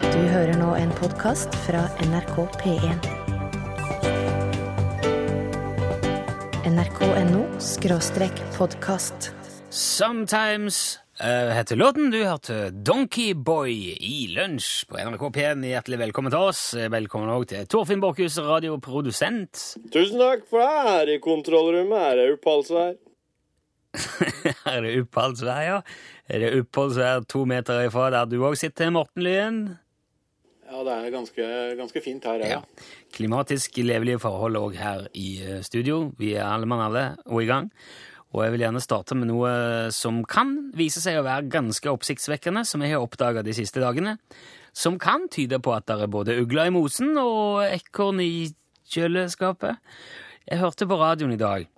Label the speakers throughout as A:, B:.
A: Du hører nå en podkast fra NRK P1. NRK.no skråstrek podkast.
B: Sometimes eh, heter låten. Du hørte Donkey Boy i lunsj på NRK P1. Hjertelig velkommen til oss. Eh, Velkommen òg til Torfinn Borchhus, radioprodusent.
C: Tusen takk for det her i kontrollrommet. Her er Upalsvær.
B: Her er det oppholdsvær, ja. Er det oppholdsvær to meter ifra der du òg sitter, Morten Lyen?
C: Ja, det er ganske, ganske fint her, ja.
B: Ja. Klimatisk levelige forhold òg her i eh, studio. Vi er alle mann alle og i gang. Og jeg vil gjerne starte med noe eh, som kan vise seg å være ganske oppsiktsvekkende, som jeg har oppdaga de siste dagene. Som kan tyde på at det er både ugler i mosen og ekorn i kjøleskapet. Jeg hørte på radioen i dag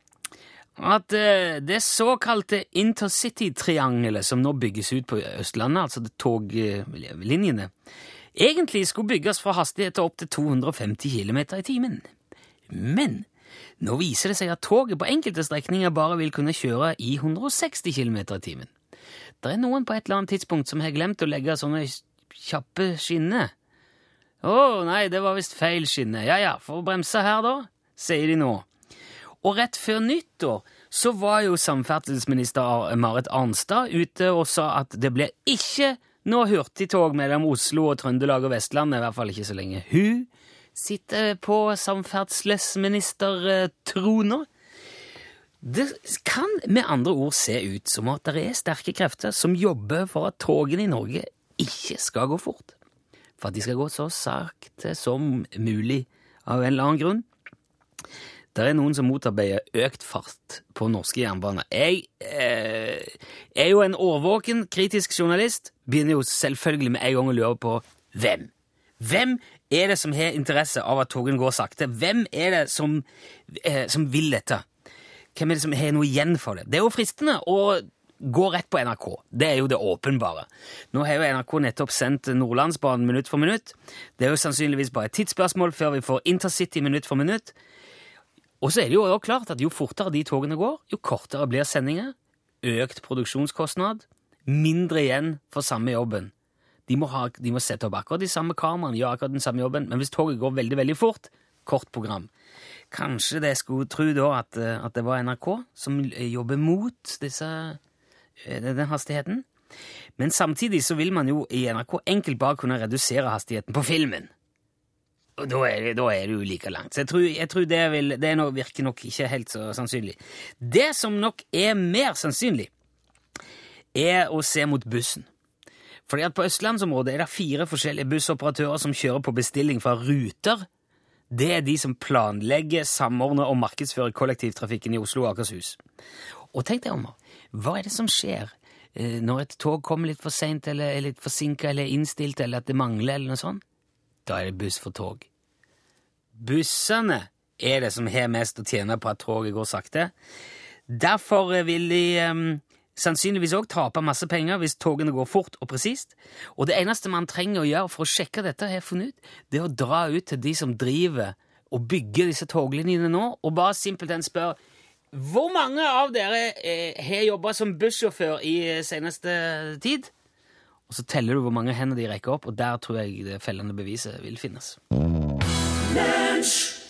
B: at eh, det såkalte intercity-triangelet som nå bygges ut på Østlandet, altså det toglinjene, egentlig skulle bygges fra hastigheter opp til 250 km i timen. Men nå viser det seg at toget på enkelte strekninger bare vil kunne kjøre i 160 km i timen. Det er noen på et eller annet tidspunkt som har glemt å legge sånne kjappe skinner. Å nei, det var visst feil skinne. Ja ja, får bremse her da, sier de nå. Og rett før nyttår så var jo samferdselsminister Marit Arnstad ute og sa at det blir ikke noe hurtigtog mellom Oslo og Trøndelag og Vestlandet, i hvert fall ikke så lenge hun sitter på samferdselsministertrona. Det kan med andre ord se ut som at det er sterke krefter som jobber for at togene i Norge ikke skal gå fort. For at de skal gå så sakte som mulig av en eller annen grunn. Det er noen som motarbeider økt fart på norske jernbaner. Jeg eh, er jo en årvåken, kritisk journalist. Begynner jo selvfølgelig med en gang å lure på hvem. Hvem er det som har interesse av at togene går sakte? Hvem er det som, eh, som vil dette? Hvem er det som har noe igjen for det? Det er jo fristende å gå rett på NRK. Det er jo det åpenbare. Nå har jo NRK nettopp sendt Nordlandsbanen minutt for minutt. Det er jo sannsynligvis bare et tidsspørsmål før vi får InterCity minutt for minutt. Og så er det jo også klart at jo fortere de togene går, jo kortere blir sendinger, økt produksjonskostnad, mindre igjen for samme jobben. De må, ha, de må sette opp akkurat de samme kameraene, gjøre akkurat den samme jobben, men hvis toget går veldig, veldig fort, kort program. Kanskje det skulle tro da at, eh, at det var NRK som eh, jobber mot disse, eh, denne hastigheten. Men samtidig så vil man jo i NRK enkelt bare kunne redusere hastigheten på filmen. Og da er, det, da er det jo like langt. Så jeg tror, jeg tror det, vil, det er nok, virker nok ikke helt så sannsynlig. Det som nok er mer sannsynlig, er å se mot bussen. Fordi at på Østlandsområdet er det fire forskjellige bussoperatører som kjører på bestilling fra ruter. Det er de som planlegger, samordner og markedsfører kollektivtrafikken i Oslo og Akershus. Og tenk deg om, hva er det som skjer eh, når et tog kommer litt for seint, eller er litt forsinka, eller er innstilt, eller at det mangler, eller noe sånt? Da er det buss for tog. Bussene er det som har mest å tjene på at toget går sakte. Derfor vil de ehm, sannsynligvis òg tape masse penger hvis togene går fort og presist. Og det eneste man trenger å gjøre for å sjekke dette, har jeg funnet ut, det er å dra ut til de som driver og bygger disse toglinjene nå, og bare simpelthen spørre hvor mange av dere eh, har jobba som bussjåfør i eh, seneste tid? Og så teller du hvor mange hender de rekker opp, og der tror jeg det fellende beviset vil finnes.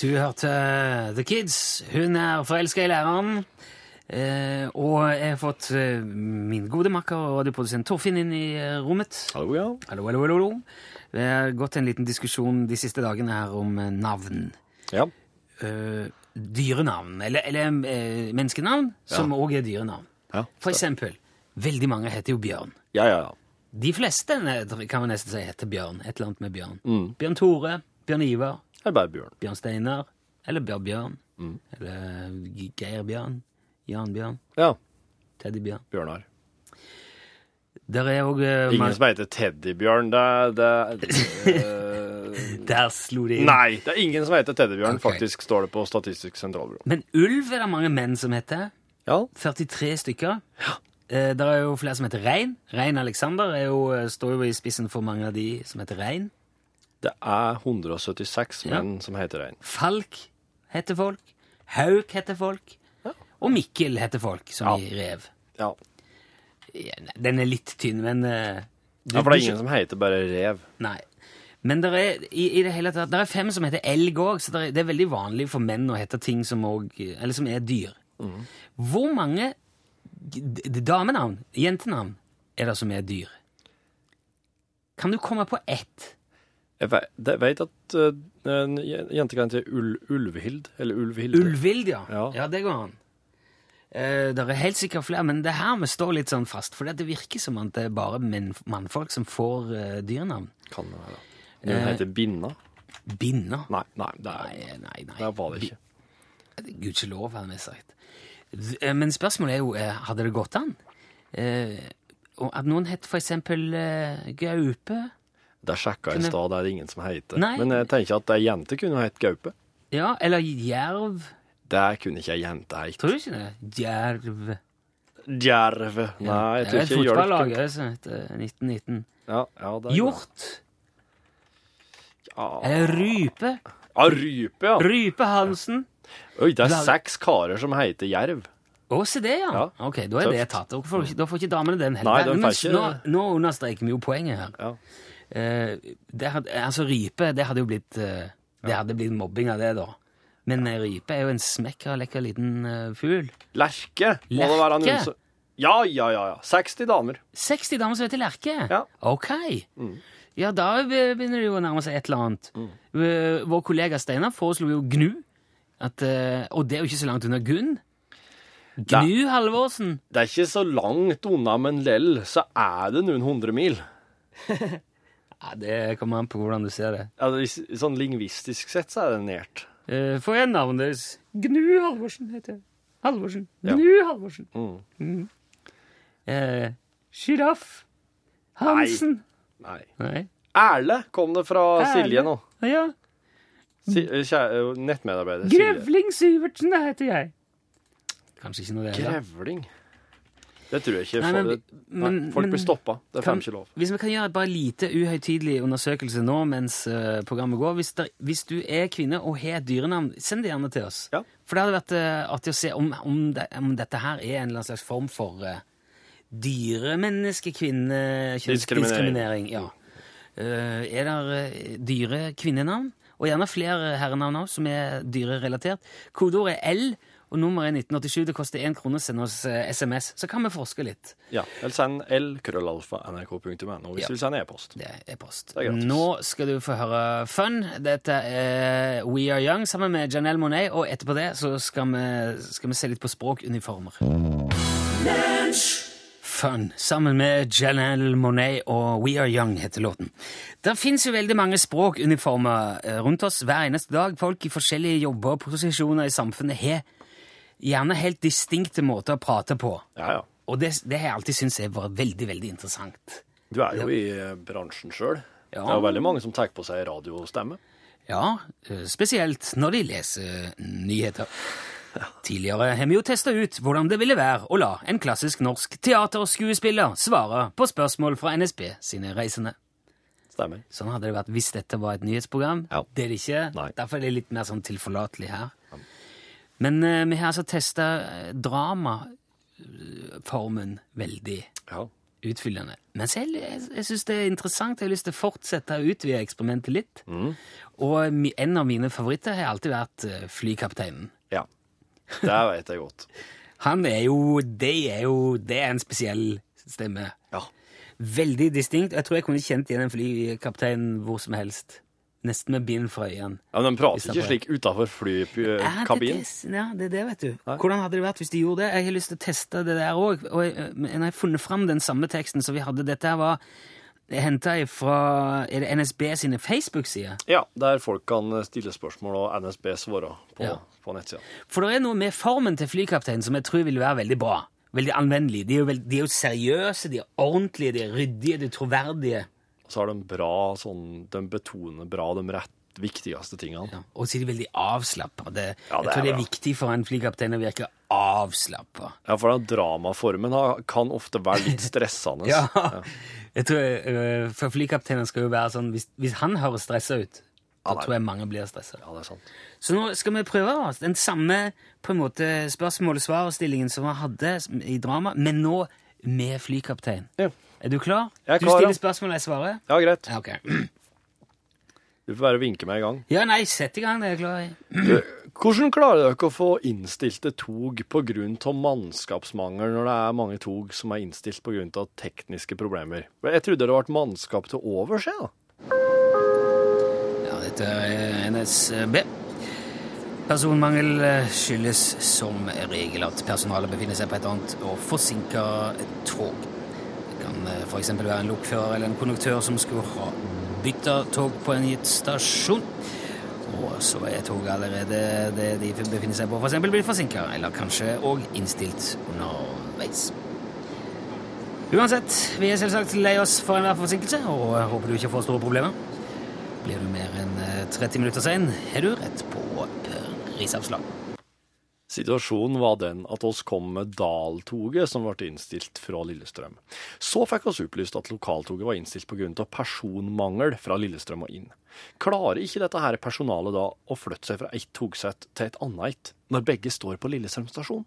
B: Du hørte eh, The Kids. Hun er forelska i læreren. Eh, og jeg har fått eh, min gode makker og radioprodusent Torfinn inn i eh, rommet.
C: Hallo, ja.
B: Hallo, hallo, hallo, hallo. Det har gått en liten diskusjon de siste dagene her om eh, navn.
C: Ja,
B: Eh, dyrenavn, eller, eller eh, menneskenavn, som òg er dyrenavn.
C: Ja.
B: For eksempel, veldig mange heter jo Bjørn.
C: ja, ja.
B: De fleste ne- kan man nesten si heter Bjørn. Et eller annet med Bjørn. Bjørn Tore, Bjørn Ivar,
C: Det er bare Bjørn.
B: Bjørn Steinar eller Bjørn Bjørn.
C: Mm.
B: Eller G- Geir Bjørn, Jan Bjørn,
C: Ja,
B: Teddy Bjørn.
C: Bjørnar.
B: Der er òg eh,
C: Ingen
B: man-
C: som heter Teddybjørn. Det er det, eh,
B: Der slo de inn.
C: Nei, det er ingen som heter Teddybjørn,
B: Ok.
C: faktisk, står det på Statistisk sentralbyrå.
B: Men ulv er det mange menn som heter.
C: Ja.
B: 43 stykker. Eh, der er jo flere som heter Rein. Rein Alexander er jo, eh, står jo i spissen for mange av de som heter Rein.
C: Det er 176
B: Ja.
C: menn som heter rein.
B: Falk heter folk. Hauk heter folk. Og Mikkel heter folk, som i rev.
C: Ja.
B: Ja, nei, Den er litt tynn, men eh, du-
C: ja, for det er
B: du-
C: ingen som heter bare rev.
B: Nei. Men der er, i, i det hele tatt, der er fem som heter elg òg, så der er, det er veldig vanlig for menn å hete ting som, også- eller som er dyr.
D: Mm.
B: Hvor mange d- d- damenavn, jentenavn, er det som er dyr? Kan du komme på ett?
D: Jeg vet, jeg vet at eh, en jen- jente kan hete Ul Ulvehild, eller Ulvehilde.
B: Ulvild, ja. ja.
D: Ja.
B: det går an. Eh, det er helt sikkert flere, men det er her vi står litt sånn fast. For det virker som at det er bare menn, mannfolk som får eh, dyrnavn.
D: Kan det være. Men
C: Eh.
D: Hun heter Binna.
B: Binner.
D: Nei, nei, det er,
B: Nei, nei, nei.
D: det var det ikke.
B: Gudskjelov, hadde jeg sagt. Eh, Men spørsmålet er jo, eh, hadde det gått an? Eh, og at noen het for eksempel eh, Gaupe?
D: Det sjekka jeg i stad, det er det ingen som heter.
B: Nei.
D: Men jeg tenker at ei jente kunne hett Gaupe.
B: Ja, eller Jerv?
D: Det kunne ikke ei jente hett.
B: Tror du ikke det? Jerv.
D: Djerv. Nei, jeg
B: Det er
D: tror
B: et
D: ikke Jørg
B: fotballag
D: kunne-
B: eh, som heter 1919.
D: Ja, ja, det er
B: Hjort? Eh.
D: godt. Ja.
B: Eller Rype?
D: Ja, rype, ja.
B: Rype Hansen?
D: Oi, det er
B: Lag-
D: seks karer som heter Jerv.
B: Å, se det, ja.
D: Ja.
B: Ok, Da er det
D: Tøft.
B: tatt. Da får, da får ikke damene den heller.
D: Nei, den
B: Men
D: får ikke-
B: nå, nå understreker vi jo poenget her.
D: Ja.
B: Eh, det hadde, altså rype, det hadde jo blitt eh, Det hadde blitt mobbing av det, da. Men eh, rype er jo en smekka lekker liten eh, fugl.
D: Lerke må det
B: Lerke?
D: være noen som Ja, ja, ja. ja. 60 damer.
B: 60 damer som heter Lerke!
D: Ja.
B: Ok! Ja, da eh, begynner det jo å nærme seg et eller annet. Eh, Vår kollega Steinar foreslo jo Gnu. At, eh, og det er jo ikke så langt unna Gunn. Gnu Halvorsen!
D: Det er ikke så langt unna, men lell så er det noen hundre mil.
B: Ja, Det kommer an på hvordan du ser det.
D: Ja, det er- sånn lingvistisk sett så er det nært.
B: Eh, Få igjen navnet deres. Gnu Halvorsen heter jeg. Halvorsen.
D: Ja.
B: Gnu Halvorsen.
D: Mm.
B: Eh. Sjiraff. Hansen.
D: Nei.
B: Nei.
D: Erle kom det fra
B: Erle.
D: Silje nå.
B: Ja.
D: Si, eh, kjære, eh, nettmedarbeider Silje.
B: Grevling Syvertsen det heter jeg. Kanskje ikke noe det heller.
D: Grevling. Det tror jeg ikke.
B: Nei, men-
D: folk,
B: men-
D: nei, folk
B: men-
D: blir stoppa. Det er
B: Kan-
D: fem ikke lov.
B: Hvis vi kan gjøre et bare lite uhøytidelig undersøkelse nå mens eh, programmet går hvis, der, hvis du er kvinne og har et dyrenavn, send det gjerne til oss.
D: Ja.
B: For det hadde vært eh, artig å se om, om, det, om dette her er en eller annen slags form for uh, dyremenneske-kvinne-kjønnsdiskriminering. Ja. Eh, er det dyre kvinnenavn? Og gjerne flere herrenavn også, som er dyrerelatert. Kodeordet er L, og nummeret er 1987. Det koster én krone. Send oss eh, SMS, så kan vi forske litt.
D: Ja. Eller send lkrøllalfa.nrk.no hvis
B: Ja.
D: du vil sende e-post.
B: Det er post.
D: Det er gratis.
B: Nå skal du få høre Fun. Dette er We Are Young sammen med Janelle Monet, og etterpå det så skal vi, skal vi se litt på språkuniformer. Fun sammen med Janelle Monet og We Are Young heter låten. Det fins jo veldig mange språkuniformer eh, rundt oss hver eneste dag. Folk i forskjellige jobber og posisjoner i samfunnet har gjerne helt distinkte måter å prate på.
D: Ja, ja.
B: Og det, det har jeg alltid syntes er bare veldig, veldig interessant.
D: Du er jo i eh, bransjen sjøl.
B: Ja.
D: Det er jo veldig mange som tar på seg radiostemme.
B: Ja, eh, spesielt når de leser nyheter. Tidligere har vi jo testa ut hvordan det ville være å la en klassisk norsk teaterskuespiller svare på spørsmål fra NSB sine reisende.
D: Stemmer.
B: Sånn hadde det vært hvis dette var et nyhetsprogram.
D: Ja.
B: Det er det ikke.
D: Nei.
B: Derfor er det litt mer sånn tilforlatelig her. Men eh, vi har altså testa dramaformen veldig
D: Ja.
B: utfyllende. Men selv, jeg, jeg syns det er interessant. Jeg har lyst til å fortsette å utvide eksperimentet litt. Og mi, en av mine favoritter har alltid vært eh, flykapteinen.
D: ja. Det vet jeg godt.
B: Han er jo Det er jo Det er en spesiell stemme.
D: Ja.
B: Veldig distinkt. Jeg tror jeg kunne kjent igjen en flykaptein hvor som helst. Nesten med bind for øynene.
D: Ja, men De
B: Hvis
D: prater
B: jeg
D: ikke
B: får-
D: slik eh, utafor
B: Ja, Det,
D: flykabinen.
B: det, ja, det er det, vet du. Hvordan hadde det vært hvis de gjorde det? Jeg har lyst til å teste det der òg. Og jeg, eh, men jeg har funnet fram den samme teksten som vi hadde. Dette her var henta fra er det NSB sine Facebook-sider.
D: Ja, der folk kan stille spørsmål og NSB svarer på,
B: Ja.
D: på nettsida.
B: For det er noe med formen til flykapteinen som jeg tror vil være veldig bra. Veldig anvendelig. De er jo, veld, de er jo seriøse, de er ordentlige, de er ryddige, de er troverdige.
D: Og så har de bra sånn De betoner bra de rett viktigste tingene.
B: Ja, Og så er de veldig avslappa. Det,
D: Ja,
B: jeg
D: det er
B: tror det er
D: bra.
B: viktig for en flykaptein å virke avslappa.
D: Ja, for den dramaformen har- kan ofte være litt stressende.
B: Ja. Jeg tror, øh, for flykapteinen skal jo være sånn Hvis, hvis han høres stressa ut, da
D: Ja, nei.
B: tror jeg mange blir stressa.
D: Ja, det er sant.
B: Så nå skal vi prøve oss. Den samme på en måte spørsmål-svar-stillingen som vi hadde i drama, men nå med flykaptein.
D: Ja,
B: Er du klar?
D: Jeg er
B: du
D: klar, ja.
B: stiller spørsmål, og jeg svarer?
D: ja greit.
B: Ja, ok.
D: Du får bare vinke meg i gang.
B: Ja, nei, sett i gang, det er jeg klar i.
D: Hvordan klarer dere å få innstilte tog pga. mannskapsmangel, når det er mange tog som er innstilt pga. tekniske problemer? Jeg trodde det var et mannskap til overs, jeg. Ja.
B: Ja, dette er NSB. Personmangel eh, skyldes som regel at personalet befinner seg på et annet og forsinka tog. Det kan f.eks. være en lokfører eller en konduktør som skulle ha bytta tog på en gitt stasjon. Og så er toget allerede det de befinner seg på, f.eks. blitt forsinka, eller kanskje òg innstilt underveis. Uansett, vi er selvsagt lei oss for enhver forsinkelse, og håper du ikke får store problemer. Blir du mer enn eh, 30 minutter sein, er du rett på eh, risavslag.
D: Situasjonen var den at oss kom med Dal-toget som ble innstilt fra Lillestrøm. Så fikk oss opplyst at lokaltoget var innstilt pga. personmangel fra Lillestrøm og inn. Klarer ikke dette her personalet da å flytte seg fra ett togsett til et annet et, når begge står på Lillestrøm stasjon?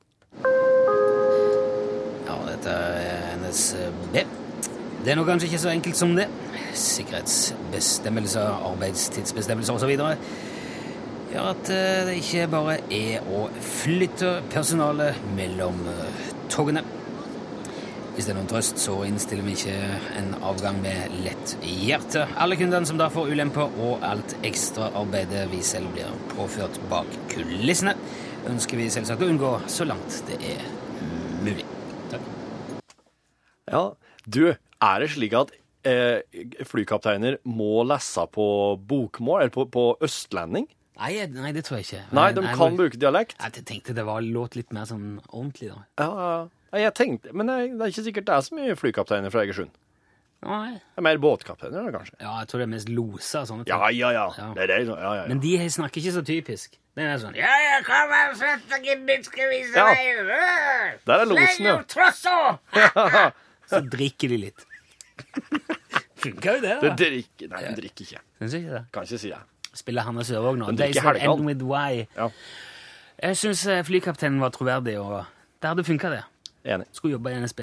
B: Ja, dette er NSB. Det er nå kanskje ikke så enkelt som det. Sikkerhetsbestemmelser, arbeidstidsbestemmelser osv. gjør at eh, det ikke bare er å flytte personalet mellom eh, togene. Hvis det er noen trøst, så innstiller vi ikke en avgang med lett hjerte. Alle kundene som da får ulemper og alt ekstraarbeidet vi selv blir påført bak kulissene, ønsker vi selvsagt å unngå så langt det er mulig. Takk.
D: Ja, du, er det slik at eh, flykapteiner må lese på bokmål, eller på, på østlending?
B: Nei, jeg- nei, det tror jeg ikke.
D: Nei, de kan
B: jeg,
D: bruke dialekt.
B: jeg tenkte det var låt litt mer sånn ordentlig, da.
D: Ja, ja, ja. jeg tenkte, men jeg, det er ikke sikkert det er så mye flykapteiner fra Egersund.
B: Nei.
D: Det er mer båtkapteiner, kanskje.
B: Ja, jeg tror det er mest loser og sånne ting.
D: Ja, ja, ja.
B: Ja.
D: Det er det, ja, ja, ja.
B: Men de snakker ikke så typisk. Det er sånn Ja, ja, kom her, først, og gibbet skal vise
D: Ja.
B: deg
D: Der er losen, ja.
B: ja. Trossa! så drikker de litt. Funker jo det,
D: Det
B: da.
D: drikker Nei, den drikker ikke.
B: Syns ikke det.
D: Kan ikke si det.
B: Spiller Hanne Sørvåg nå.
D: Men
B: Days
D: drikker
B: that
D: Helgan.
B: end with why.
D: Ja.
B: Jeg syns flykapteinen var troverdig, og det hadde funka, det.
D: Enig.
B: skulle jobbe i NSB.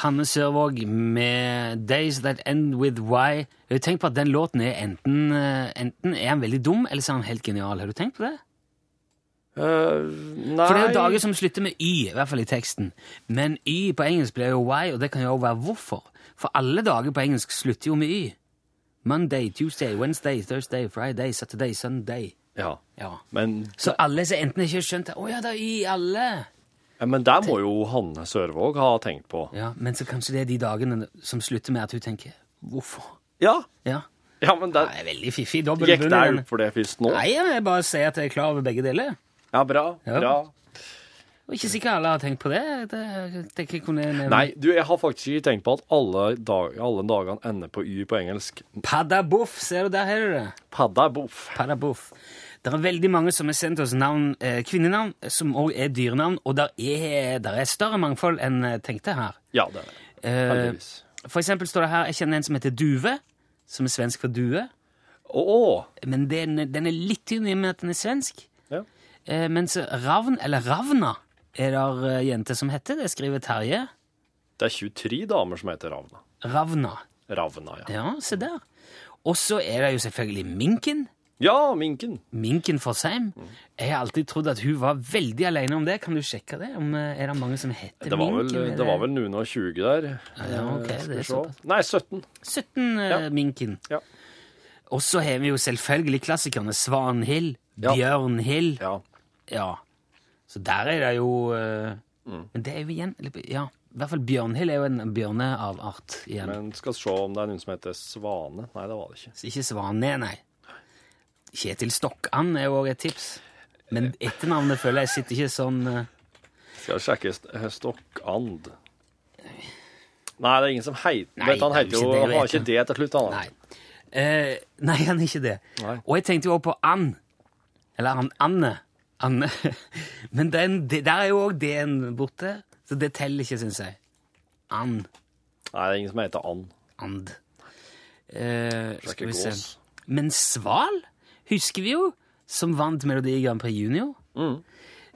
B: Hanne Sørvåg med 'Days That End With Why'. Har du tenkt på at den låten er enten, eh, enten er han veldig dum, eller så er han helt genial. Har du tenkt på det?
D: Eh, nei
B: For det er jo dager som slutter med Y, i hvert fall i teksten. Men Y på engelsk blir jo why, og det kan jo også være hvorfor. For alle dager på engelsk slutter jo med Y. Monday, Tuesday, Wednesday, Thursday, Friday, Saturday, Sunday.
D: Ja.
B: Ja.
D: Men,
B: Så alle som enten ikke har skjønt det Å ja, det er Y i alle!
D: ja, men der må jo Hanne Sørvåg ha tenkt på.
B: Ja, Men så kanskje det er de dagene som slutter med at hun tenker 'hvorfor'?
D: Ja,
B: Ja.
D: ja men
B: Det
D: der
B: er veldig fiffig. Dobbel
D: gikk
B: bunn. i
D: deg
B: den.
D: opp for det først nå.
B: Nei, jeg bare sier at jeg er klar over begge deler.
D: Ja, bra.
B: Ja.
D: bra.
B: Og ikke sikkert alle har tenkt på det. det, det jeg kunne nevne.
D: Nei, du, jeg har faktisk ikke tenkt på at alle, dag, alle dagene ender på Y på engelsk.
B: Padaboff, ser du, der har du det.
D: Padda boff.
B: Padaboff. Det er veldig mange som har sendt oss navn, eh, kvinnenavn, som òg er dyrenavn, og der er, der er større mangfold enn eh, tenkte her.
D: Ja, det er det.
B: Eh,
D: Heldigvis.
B: for eksempel står det her Jeg kjenner en som heter Duve, som er svensk for due.
D: Å,
B: Men den, den er litt tynn i og med at den er svensk.
D: Ja.
B: Eh, mens Ravn, eller Ravna, er der eh, jenter som heter. Det skriver Terje.
D: Det er 23 damer som heter Ravna.
B: Ravna.
D: Ravna, ja.
B: Ja, se der. Og så er det jo selvfølgelig Minken.
D: Ja, minken.
B: Minken Forsheim. Jeg har alltid trodd at hun var veldig alene om det. Kan du sjekke det? Om, eh, er det mange som heter
D: Det var vel,
B: Minken? eller?
D: det var vel noen og 20 der.
B: ja, ok,
D: Eh, skal
B: det er
D: vi se.
B: såpass.
D: Nei, 17.
B: 17 eh, Minken.
D: Ja.
B: Og så har vi jo selvfølgelig klassikerne Svanhild,
D: Ja.
B: Bjørnhild.
D: Ja. Mm.
B: Ja. Så der er det jo eh, Men det er jo igjen eller, Ja, i hvert fall Bjørnhild er jo en bjørneavart igjen.
D: Men skal se om det er noen som heter Svane. Nei, det var det ikke.
B: Så ikke Svane, nei. Kjetil Stokkan er jo også et tips. Men etternavnet føler jeg sitter ikke sånn eh,
D: Skal jeg sjekke st- eh, Stokkand. Nei, det er ingen som heter
B: Nei,
D: Vet, Han
B: det er jo
D: heter
B: ikke
D: jo
B: det,
D: Han har
B: vet
D: ikke
B: du.
D: det til slutt, han.
B: Nei. Eh, nei, han er ikke det.
D: Nei.
B: Og jeg tenkte jo også på And. Eller han Anne. Anne. Men den, det, der er jo òg D-en borte, så det teller ikke, syns jeg. And.
D: Nei, det er ingen som heter And.
B: And. Eh,
D: er
B: skal
D: ikke
B: vi se.
D: gås.
B: Men Sval husker vi jo, som vant Melodi Grand Prix Junior.
D: Mm.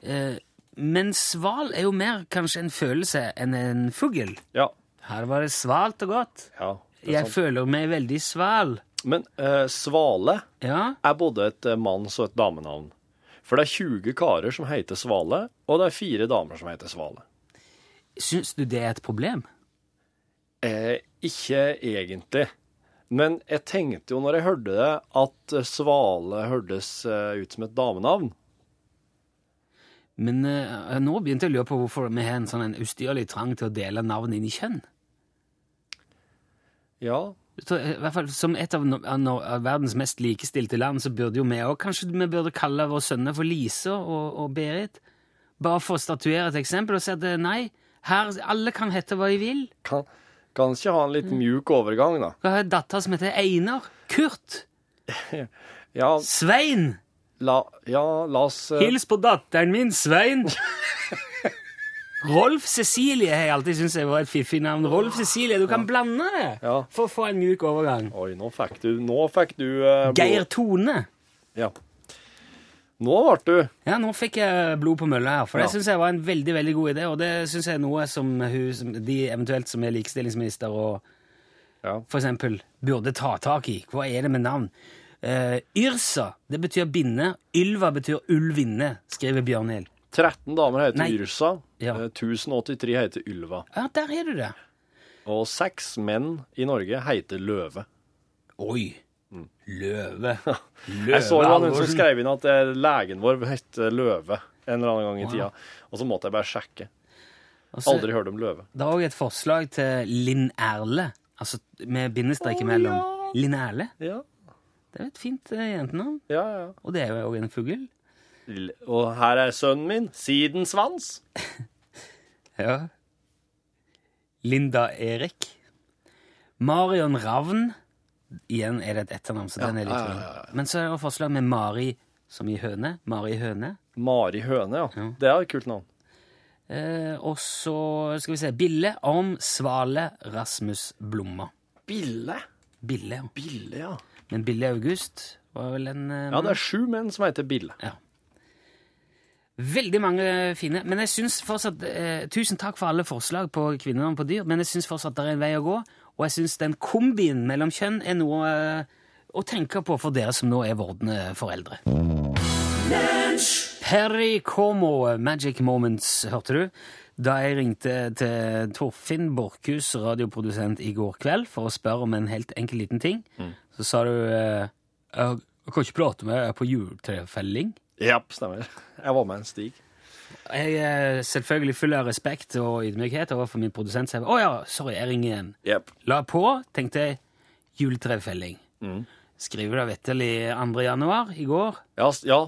B: Eh, men Sval er jo mer kanskje en følelse enn en fugl.
D: Ja.
B: Her var det svalt og godt.
D: ja det er
B: Jeg
D: sant.
B: føler meg veldig sval.
D: Men eh, Svale
B: Ja.
D: er både et eh, manns- og et damenavn. For det er 20 karer som heter Svale, og det er fire damer som heter Svale.
B: Syns du det er et problem?
D: Eh, ikke egentlig. Men jeg tenkte jo når jeg hørte det, at eh, Svale hørtes eh, ut som et damenavn.
B: Men eh, nå begynte jeg å lure på hvorfor vi har en sånn en ustyrlig trang til å dele navn inn i kjønn.
D: Ja,
B: Så, eh, I hvert fall Som et av, no av no- av verdens mest likestilte land, så burde jo vi òg kanskje vi burde kalle våre sønner for Lise og, og Berit. Bare for å statuere et eksempel og si at eh, nei, her, alle kan hete hva de vil.
D: kan, kan ikke ha en
B: Mm.
D: litt mjuk overgang, da.
B: Jeg har en datter som heter Einar, Kurt,
D: Ja,
B: Svein.
D: la, ja, la oss eh,
B: Hils på datteren min, Svein. Rolf Cecilie har jeg alltid syntes jeg var et fiffig navn. Rolf Cecilie, Du kan blande det
D: Ja.
B: for å få en mjuk overgang.
D: Oi, nå fikk du Nå fikk du eh, blod-
B: Geir Tone.
D: Ja. Nå ble du
B: Ja, nå fikk jeg blod på mølla her, for det
D: Ja.
B: syns jeg var en veldig veldig god idé. Og det syns jeg er noe som hun, som de eventuelt som er likestillingsminister og
D: Ja.
B: for eksempel, burde ta tak i. Hva er det med navn? Eh, Yrsa, det betyr binde. Ylva betyr ulvinne, skriver Bjørnhild.
D: 13 damer heter
B: Nei.
D: Yrsa.
B: Ja.
D: eh, 1083 heter Ylva.
B: Ja, der har du det.
D: Og seks menn i Norge heter Løve.
B: Oi. Løve. Løve
D: Mm. Jeg så jo han hun som
B: Halvorsen.
D: skrev inn at eh, legen vår het eh, Løve en eller annen gang i tida. Og så måtte jeg bare sjekke.
B: Og så-
D: Aldri hørt om Løve.
B: Det er òg et forslag til Linn Erle, altså med bindestrek imellom. Linn Erle.
D: Ja,
B: Det er et fint eh, jentenavn.
D: ja, ja.
B: Og det er jo òg en fugl.
D: L- Og her er sønnen min. Sidensvans.
B: Ja. Linda Erik. Marion Ravn. Igjen er det et etternavn, så den er litt
D: ja, ja,
B: lang. Men så er det også forslag med Mari som i høne. Mari Høne.
D: Mari Høne, ja. Det er et kult navn.
B: Eh, og så skal vi se Bille Orm Svale Rasmus Blomma.
D: Bille.
B: Bille, ja.
D: Bille, ja.
B: Men Bille August var vel en eh,
D: Ja, det er sju menn som heter Bille.
B: Ja. Veldig mange fine. Men jeg synes fortsatt, eh, Tusen takk for alle forslag på kvinnenavn på dyr, men jeg syns fortsatt det er en vei å gå. Og jeg syns den kombien mellom kjønn er noe eh, å tenke på for dere som nå er vordende foreldre. Perry Como, Magic Moments, hørte du? Da jeg ringte til Torfinn Borchhus, radioprodusent, i går kveld for å spørre om en helt enkel liten ting, så sa du eh, jeg, jeg kan ikke prate med deg, jeg er på juletrefelling.
D: Ja, stemmer. Jeg var med en stig.
B: Jeg er selvfølgelig full av respekt og ydmykhet overfor min produsent. Så jeg, bare, å ja, sorry, jeg ringer igjen.
D: Jepp.
B: La på, tenkte jeg, juletrefelling.
D: Mm.
B: Skriver da vitterlig 2. januar i går.
D: Ja, s- ja.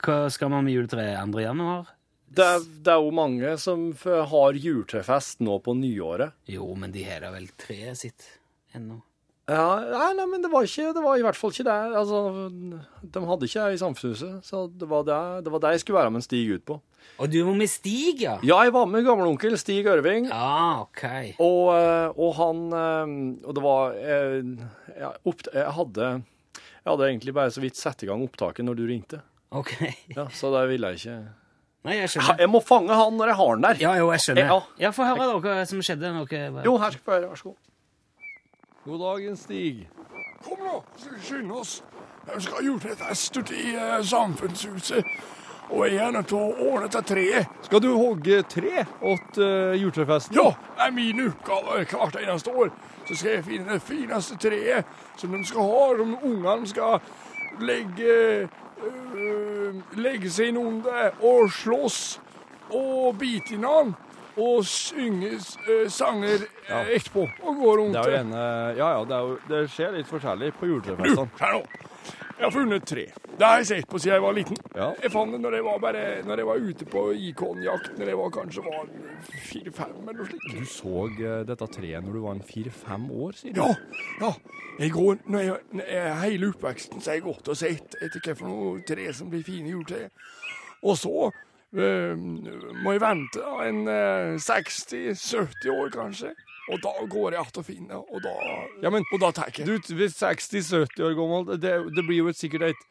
B: Hva skal man med juletreet 2. januar?
D: Det, er, det er jo mange som f- har juletrefest nå på nyåret.
B: Jo, men de har da vel treet sitt ennå.
D: Ja, nei, nei, men det var, ikke, det var i hvert fall ikke det. Altså, de hadde ikke det i samfunnshuset, så det var det, det var det jeg skulle være med en Stig ut på.
B: Og du var med Stig, ja?
D: Ja, jeg var med gamleonkel Stig Ørving.
B: Ja, ok.
D: Og, eh, og han eh, Og det var eh, ja, opp, jeg, hadde, jeg hadde egentlig bare så vidt satt i gang opptaket når du ringte.
B: Ok.
D: Ja, så det ville jeg ikke
B: Nei, jeg
D: Ha,
B: skjønner.
D: Jeg må fange han når jeg har han der.
B: Ja, jo, jeg skjønner.
D: Ja.
B: Ja, få høre dere hva som skjedde. Noe.
D: Jo, her skal du få høre. Vær så god. God dagen, Stig.
E: Kom nå, skal vi skynde oss. Jeg skal ha juletrefest ute i eh, samfunnshuset. Og jeg er nødt til å ordne dette treet.
F: Skal du hogge tre åt uh, juletrefesten?
E: Ja, det er min oppgave hvert eneste år. Så skal jeg finne det fineste treet som de skal ha, som ungene skal legge øh, Legge seg innunder og slåss og bite innan. Og synge eh, sanger eh, etterpå. Og gå rundt.
F: Det er jo gjerne Ja ja, det, er jo, det skjer litt forskjellig på
E: Du,
F: juletrefestene.
E: her nå. Jeg har funnet tre. Det har jeg sett på siden jeg var liten.
F: Ja.
E: Jeg fant det når jeg var, bare, når jeg var ute på ikonjakt, når jeg var kanskje var fire-fem eller noe
F: Du
E: slikt.
F: så eh, dette treet når du var en fire-fem år, sier du?
E: Ja, ja. Jeg går, når jeg, når jeg, hele oppveksten så har jeg gått og sett etter hva for noe tre som blir fine juletre. Og så eh, må jeg vente da, en eh, 60-70 år kanskje. Og da går jeg att og finner, og da,
F: Ja, men-
E: og da tar jeg.
F: Du, ved 60-70 år gammel, det, det blir jo et, sikkert et,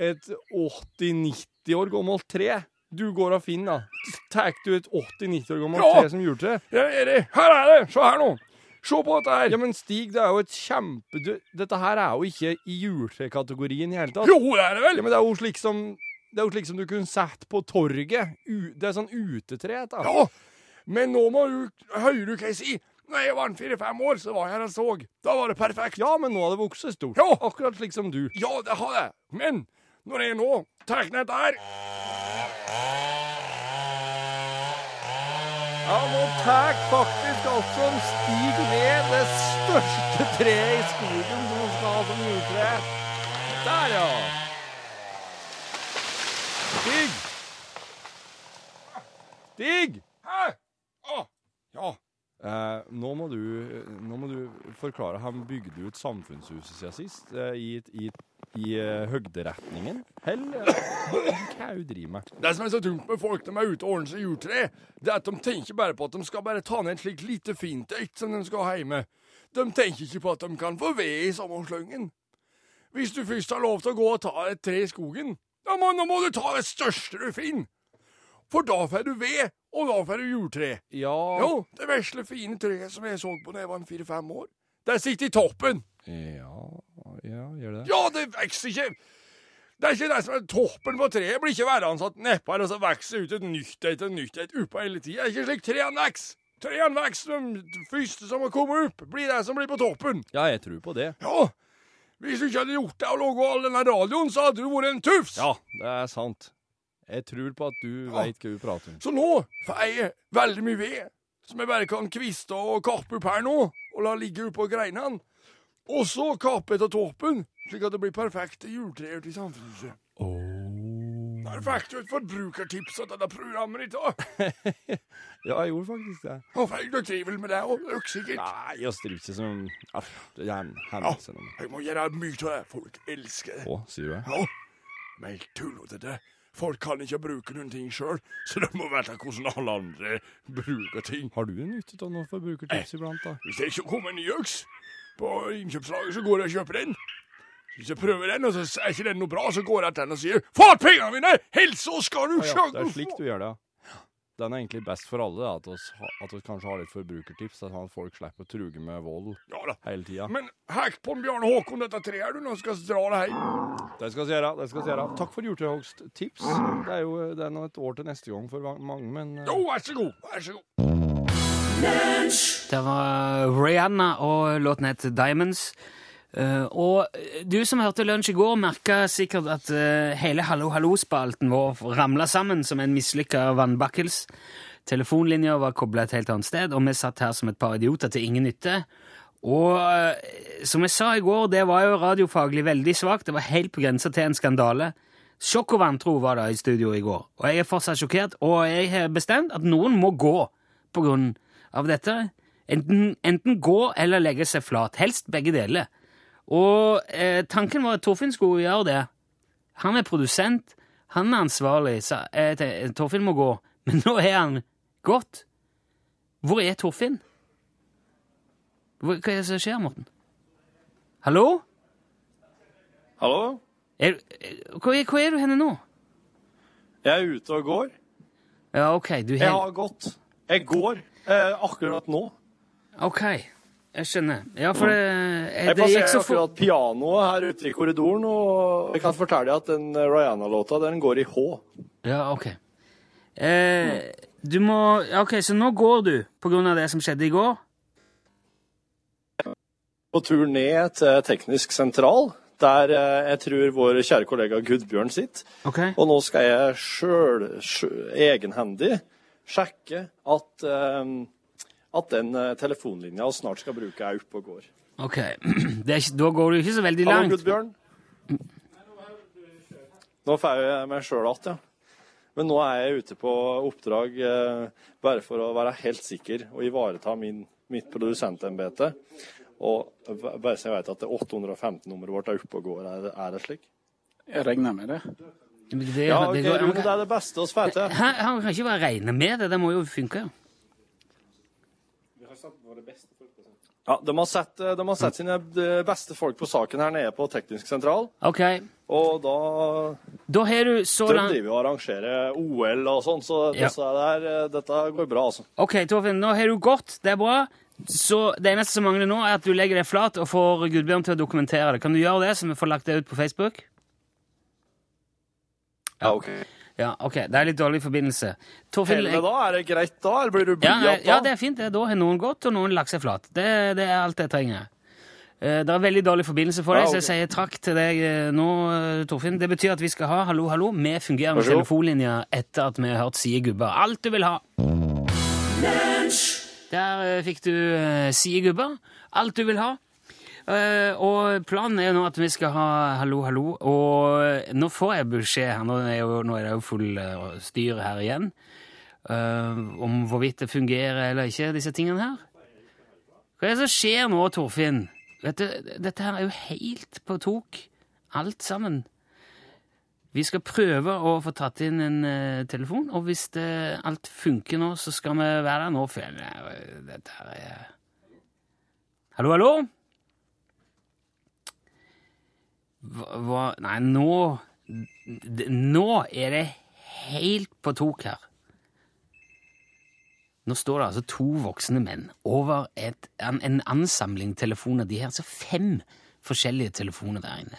F: et 80-90 år gammelt tre. Du går og finner, da. Tar du et 80-90 år gammelt
E: Ja.
F: tre som juletre?
E: Ja, det er det. Her er det! Se her nå. Se på dette her!
G: Ja, men Stig, det er jo et kjempe... Du, dette her er jo ikke i julekategorien i hele tatt.
E: Jo, det er det vel!
G: Ja, men det er jo slik som... Det er jo slik som du kunne sett på torget. U, det er sånn utetre, dette.
E: Ja, men nå må du høre hva jeg sier. Når jeg var en fire-fem år, så var jeg her og så. Da var det perfekt.
G: Ja, men nå har det vokst stort.
E: Ja.
G: Akkurat slik som du.
E: Ja, det har jeg. Men når jeg nå tar ned dette her
G: Ja, nå tar faktisk altså en stig ned det største treet i skogen som man skal ha som juletre. Der, ja. Stig! Stig!
E: Hæ? Å, ja.
G: Eh, nå, må du, nå må du forklare. Han bygde ut samfunnshuset siden sist, eh, i, i, i eh, høgderetningen. Hell, ja. hva er det du driver med?
E: Det som er så dumt med folk når de er ute og ordner seg juletre, det er at de tenker bare på at de skal bare ta ned et slikt lite fint et som de skal ha hjemme. De tenker ikke på at de kan få ved i samme sløngen. Hvis du først har lov til å gå og ta et tre i skogen, ja, men nå må du ta det største du finner. For da får du ved, og da får du juletre.
G: Ja,
E: Jo, det vesle, fine treet som jeg så på da jeg var en fire-fem år, det sitter i toppen.
G: ja, ja gjør det.
E: Ja, det vokser ikke Det er ikke det som er toppen på treet. Blir ikke værende sånn nedpå her, og så vokser det ut et nytt et og nytt et oppå hele tida. Det er ikke slik trærne vokser. Trærne vokser, de første som har kommet opp, blir det som blir på toppen.
G: Ja, jeg tror på det.
E: Ja, hvis du ikke hadde gjort det og logget all denne radioen, så hadde du vært en tufs.
G: Ja, det er sant. Jeg tror på at du
E: Ja.
G: veit hva du prater om.
E: Så nå får jeg veldig mye ved, som jeg bare kan kviste og kappe opp her nå, og la ligge oppå greinene. Og så kappe etter toppen, slik at det blir perfekte juletreer til samfunnshuset. Perfekt jo et forbrukertips av dette programmet ditt òg.
G: Ja, jeg gjorde faktisk det.
E: Feil du trivel med det òg, sikkert.
G: Nei, Ah, jeg stiller ikke som ah, Ja, det er en
E: Ja,
G: hendelse nå.
E: jeg må gjøre mye av det. Folk elsker det.
G: Å, sier du det?
E: Ja, men helt tullete det. Folk kan ikke bruke noen ting sjøl, så de må vite hvordan alle andre bruker ting.
G: Har du nytte av noe forbrukertips iblant, da?
E: Hvis det ikke kommer en ny øks på innkjøpslaget, så går jeg og kjøper den. Hvis jeg prøver den, og så er ikke den noe bra, så går jeg til den og sier 'Få igjen pengene mine! Helse skal du
G: Ja, ja,
E: sjaggu
G: det er
E: få!»
G: slik du gjør det, ja. Den er egentlig best for alle, da, at oss, ha- at oss kanskje har litt forbrukertips, sånn at folk slipper å truge med vold
E: Ja da.
G: hele tida.
E: Men hekk på en Bjarne Håkon dette treet du nå skal dra det hjem.
G: Det skal vi gjøre. det skal vi gjøre. Takk for hjortehogsttips. Det er jo det er nå et år til neste gang for mange, men eh,
E: Jo, vær så god. Vær så god.
B: Det var Rihanna og låten het Diamonds. Eh, og du som hørte lunsj i går, merka sikkert at eh, hele Hallo Hallo-spalten vår ramla sammen som en mislykka vannbakkels. Telefonlinja var kobla et helt annet sted, og vi satt her som et par idioter til ingen nytte. Og eh, som jeg sa i går, det var jo radiofaglig veldig svakt. Det var helt på grensa til en skandale. Sjokk og vantro var det i studio i går. Og jeg er fortsatt sjokkert, og jeg har bestemt at noen må gå på grunn av dette. Enten, enten gå eller legge seg flat. Helst begge deler. Og eh, tanken var at Torfinn skulle gjøre det. Han er produsent, han er ansvarlig, så eh, te- Torfinn må gå. Men nå er han gått. Hvor er Torfinn? Hvor, hva er det som skjer, Morten? Hallo?
D: Hallo?
B: Er, eh, hvor, er, hvor er du henne nå?
D: Jeg er ute og går.
B: Ja, OK, du
D: Jeg
B: har
D: har gått. Jeg går eh, akkurat nå.
B: OK, jeg skjønner. Ja, for det, eh,
D: Mm. Jeg
B: det gikk
D: passerer
B: så fort.
D: akkurat pianoet her ute i korridoren, og jeg kan fortelle deg at den eh, Rihanna-låta, den går i H.
B: Ja, ok. Eh, du må ja, Ok, så nå går du på grunn av det som skjedde i går?
D: På tur ned til Teknisk sentral, der eh, jeg tror vår kjære kollega Gudbjørn sitter.
B: Ok.
D: Og nå skal jeg sjøl, sjø- egenhendig, sjekke at, eh, at den eh, telefonlinja vi snart skal bruke, er oppe og går.
B: Ok, det er, ikke- Da går du ikke så veldig
D: Hallo,
B: langt.
D: Gudbjørn. Nå får jeg meg sjøl igjen, ja. Men nå er jeg ute på oppdrag eh, bare for å være helt sikker og ivareta min, mitt produsentembete. Og b- bare så jeg vet at det 815-nummeret vårt er oppe og går. Er det, er det slik?
H: Jeg regner med det.
B: Det,
D: Ja,
B: det
D: ok,
B: går-
D: Rune, det er det beste oss får til.
B: Hæ, han kan ikke bare regne med det. Det må jo funke.
D: Ja, de har, sett, de har sett sine eh, beste folk på saken her nede på Teknisk sentral.
B: Ok,
D: Og da
B: da har du så
D: De
B: langt
D: driver jo og arrangerer OL og sånn, så
B: Ja.
D: disse der, eh, dette går bra, altså.
B: Ok, Torfinn, nå har du gått. Det er bra. Så det eneste som mangler nå, er at du legger deg flat og får Gudbjørn til å dokumentere det. Kan du gjøre det, så vi får lagt det ut på Facebook?
D: Ja, ok.
B: Ja, ok. Det er litt dårlig forbindelse. Torfinn,
D: Helle, da? Er det greit, da? Eller blir du
B: Ja,
D: blyant,
B: nei,
D: da?
B: ja, det er fint. det. Da har noen gått, og noen lagt seg flat. Det, det er alt jeg trenger. Eh, Det er veldig dårlig forbindelse for deg,
D: Ja,
B: så jeg sier takk til deg eh, nå, eh, Torfinn. Det betyr at vi skal ha Hallo, hallo med fungerende
D: Vær så god.
B: telefonlinjer etter at vi har hørt Sie gubber. Alt du vil ha! Der eh, fikk du eh, Sie gubber. Alt du vil ha. Eh, og planen er jo nå at vi skal ha hallo, hallo, og eh, nå får jeg beskjed her, nå er, jo, nå er det jo full eh, styr her igjen, eh, om hvorvidt det fungerer eller ikke, disse tingene her. Hva er det som skjer nå, Torfinn? Vet du, dette her er jo helt på tok, alt sammen. Vi skal prøve å få tatt inn en eh, telefon, og hvis det, alt funker nå, så skal vi være der nå, for jeg- dette her er... Hallo, hallo? Hva, hva Nei, nå d- Nå er det helt på tok her. Nå står det altså to voksne menn over et, en, en ansamling telefoner. De har altså fem forskjellige telefoner der inne.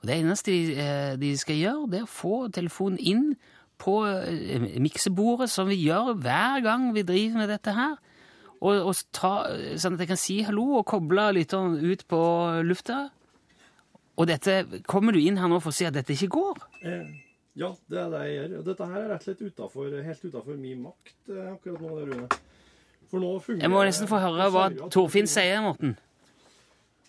B: Og det eneste de, eh, de skal gjøre, det er å få telefonen inn på eh, miksebordet, som vi gjør hver gang vi driver med dette her. Og, og ta, sånn at jeg kan si hallo og koble lytteren ut på lufta. Og dette, kommer du inn her nå for å si at dette ikke går?
G: Ja, det er det jeg gjør. Og Dette her er rett og slett utenfor, helt utafor min makt eh, akkurat nå, Rune. For nå fungerer
B: Jeg må nesten få høre hva Torfinn sier, Morten.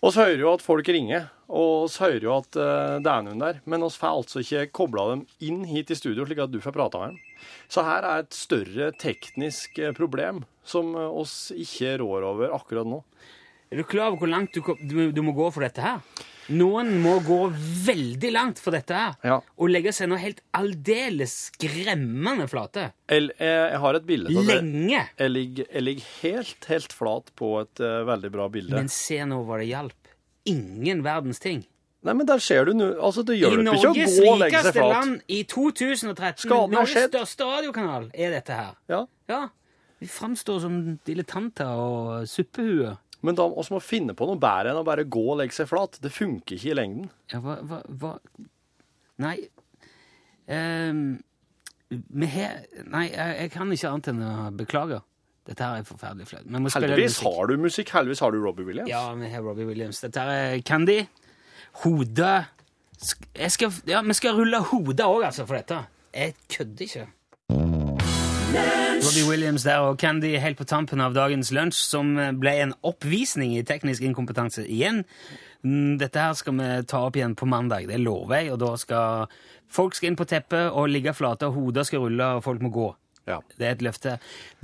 D: Oss hører jo at folk ringer, og oss hører jo at eh, det er noen der, men oss får altså ikke kobla dem inn hit i studio, slik at du får prata med dem. Så her er et større teknisk eh, problem som eh, oss ikke rår over akkurat nå.
B: Er du klar over hvor langt du, kom- du, du må gå for dette her? Noen må gå veldig langt for dette her.
D: Ja.
B: Og legge seg nå helt aldeles skremmende flate.
D: Eller, eh, jeg har et bilde av det.
B: Lenge.
D: Jeg ligger, jeg ligger helt, helt flat på et eh, veldig bra bilde.
B: Men se nå hva det hjalp. Ingen verdens ting.
D: Nei, men der ser du nå Altså, det
B: I
D: hjelper ikke å
B: Norges
D: gå og legge seg
B: rikeste
D: flat.
B: land i 2013,
D: Skaden har
B: Norges
D: skjedd.
B: største radiokanal, er dette her.
D: Ja.
B: Ja, vi framstår som dilettanter og suppehuer.
D: Men da oss må finne på noe bedre enn å bare gå og legge seg flat. Det funker ikke i lengden.
B: Ja, hva, hva, hva? Nei Ehm, vi har Nei, jeg, jeg kan ikke annet enn å beklage. Dette her er forferdelig flaut. Vi må spille
D: Heldigvis
B: musikk.
D: har du musikk. Heldigvis har du Robbie Williams.
B: Ja, vi har Robbie Williams. Dette her er Candy. Hodet Sk- jeg skal, Ja, vi skal rulle hodet òg, altså, for dette. Jeg kødder ikke. Robbie Williams der og Candy helt på tampen av dagens lunsj, som eh, ble en oppvisning i teknisk inkompetanse igjen. Mm, Dette her skal vi ta opp igjen på mandag, det lover jeg. Og da skal folk skal inn på teppet og ligge flate, og hoder skal rulle, og folk må gå.
D: Ja.
B: Det er et løfte.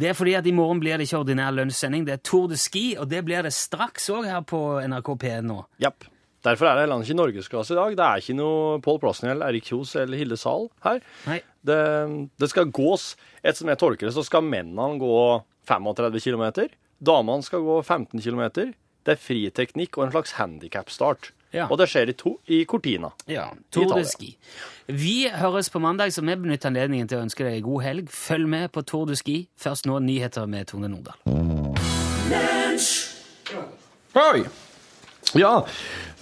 B: Det er fordi at i morgen blir det ikke ordinær lunsjsending, det er Tour de Ski, og det blir det straks òg her på NRK P1 nå.
D: Japp. Derfor er det heller ikke norgesklasse i dag. Det er ikke noe Pål Plassnell, Erik Kjos eller Hilde Sahl her.
B: Nei.
D: Det, det skal gås. Et som jeg tolker det, så skal mennene gå 35 km. Damene skal gå 15 km. Det er friteknikk og en slags handikapstart.
B: Ja.
D: Og det skjer i, to, i Cortina.
B: Ja, Tour de
D: Italia.
B: Ski. Vi høres på mandag, så vi benytter anledningen til å ønske deg god helg. Følg med på Tour de Ski. Først nå nyheter med Tone Nordahl.
G: Hei! Ja,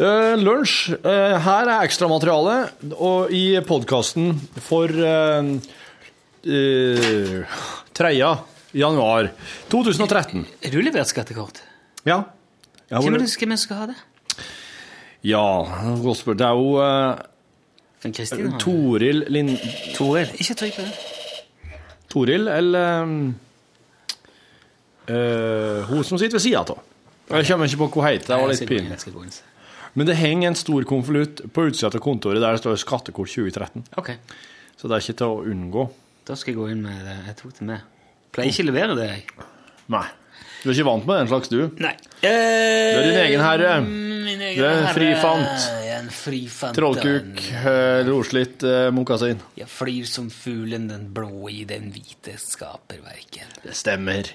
G: eh, lunsj. Eh, her er ekstramateriale og i podkasten for eh, eh, 3. januar 2013.
B: Har du levert skattekort?
G: Ja. Ja,
B: Hvem
G: hvor-
B: er det hvem er det som skal ha det?
G: ja godt spørsmål. Det er jo eh,
B: Kan Kristin ha det?
G: Toril Lind...
B: Toril. Eh, Ikke trykk på det.
G: Toril eller eh, eh, hun som sitter ved sida av. Jeg kommer ikke på hva hun heter. Det var litt pinlig.
B: Jeg skal gå inn, jeg skal
G: Men det henger en stor konvolutt på utsida av kontoret der det står 'skattekort 2013'.
B: gå inn. Ok,
G: Så det er ikke til å unngå.
B: da skal jeg gå inn med det. Jeg tok det med. Pleier ikke å levere det, jeg.
G: Nei. Du er ikke vant med den slags, du.
B: Nei. Eh, mm,
G: Du er din egen herre.
B: Min egen
G: Du er en
B: herre.
G: frifant.
B: Jeg er en frifant.
G: Trollkuk, eh, roslitt, eh, mokasin.
B: Jeg flyr som fuglen den blå i den hvite skaperverken.
G: Det stemmer.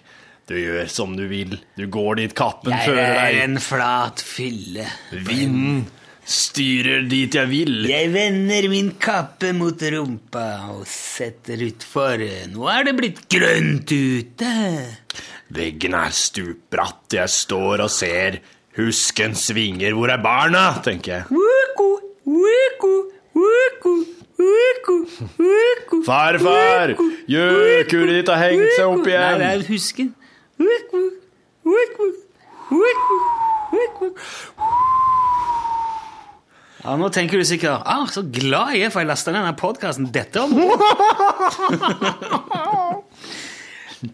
G: Du gjør som du vil. Du går dit kappen
B: Jeg
G: fører
B: er
G: deg.
B: en flat fylle.
G: Vinden styrer dit jeg vil.
B: Jeg vender min kappe mot rumpa og setter utfor. Nå er det blitt grønt ute.
D: Veggen er stupbratt, jeg står og ser. Husken svinger, hvor er barna? tenker jeg. Farfar! Gjøkulet ditt har hengt seg opp
B: Nei, det
D: igjen.
B: er husken. Ja, nå tenker du sikkert ah, så glad jeg er for jeg lasta ned denne podkasten. Dette om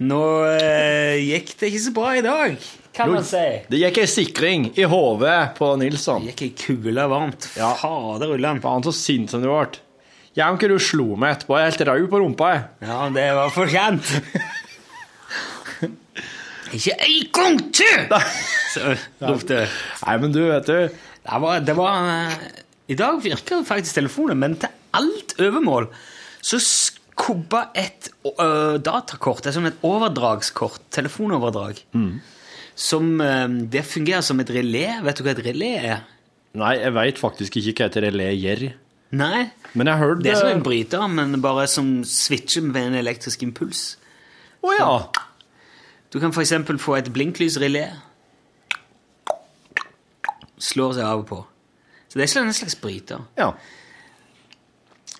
B: Nå eh, gikk det ikke så bra i dag, kan man si.
D: Det gikk ei sikring i hodet på Nilsson.
B: Det gikk ei kule varmt.
D: Ja.
B: Fader ullan.
D: Faen, så sint som du ble. Jeg om ikke du slo meg etterpå. Jeg er helt rau på rumpa. jeg.
B: Ja, det var fortjent. ikke ei gang til! Så ropte jeg.
D: Nei, men du, vet du
B: Det var, det var eh, I dag virker faktisk telefonen, men til alt overmål så skubba et eh, datakort, det er sånn et overdragskort, telefonoverdrag, som eh, Det fungerer som et relé. Vet du hva et relé er?
D: Nei, jeg veit faktisk ikke hva et relé gjør.
B: Nei.
D: Men jeg hørte
B: Det er som en bryter, men bare som switcher med en elektrisk impuls.
D: Å ja.
B: Du kan f.eks. få et blinklysrelé. Slår seg av og på. Så det er ikke en slags bryter.
D: ja.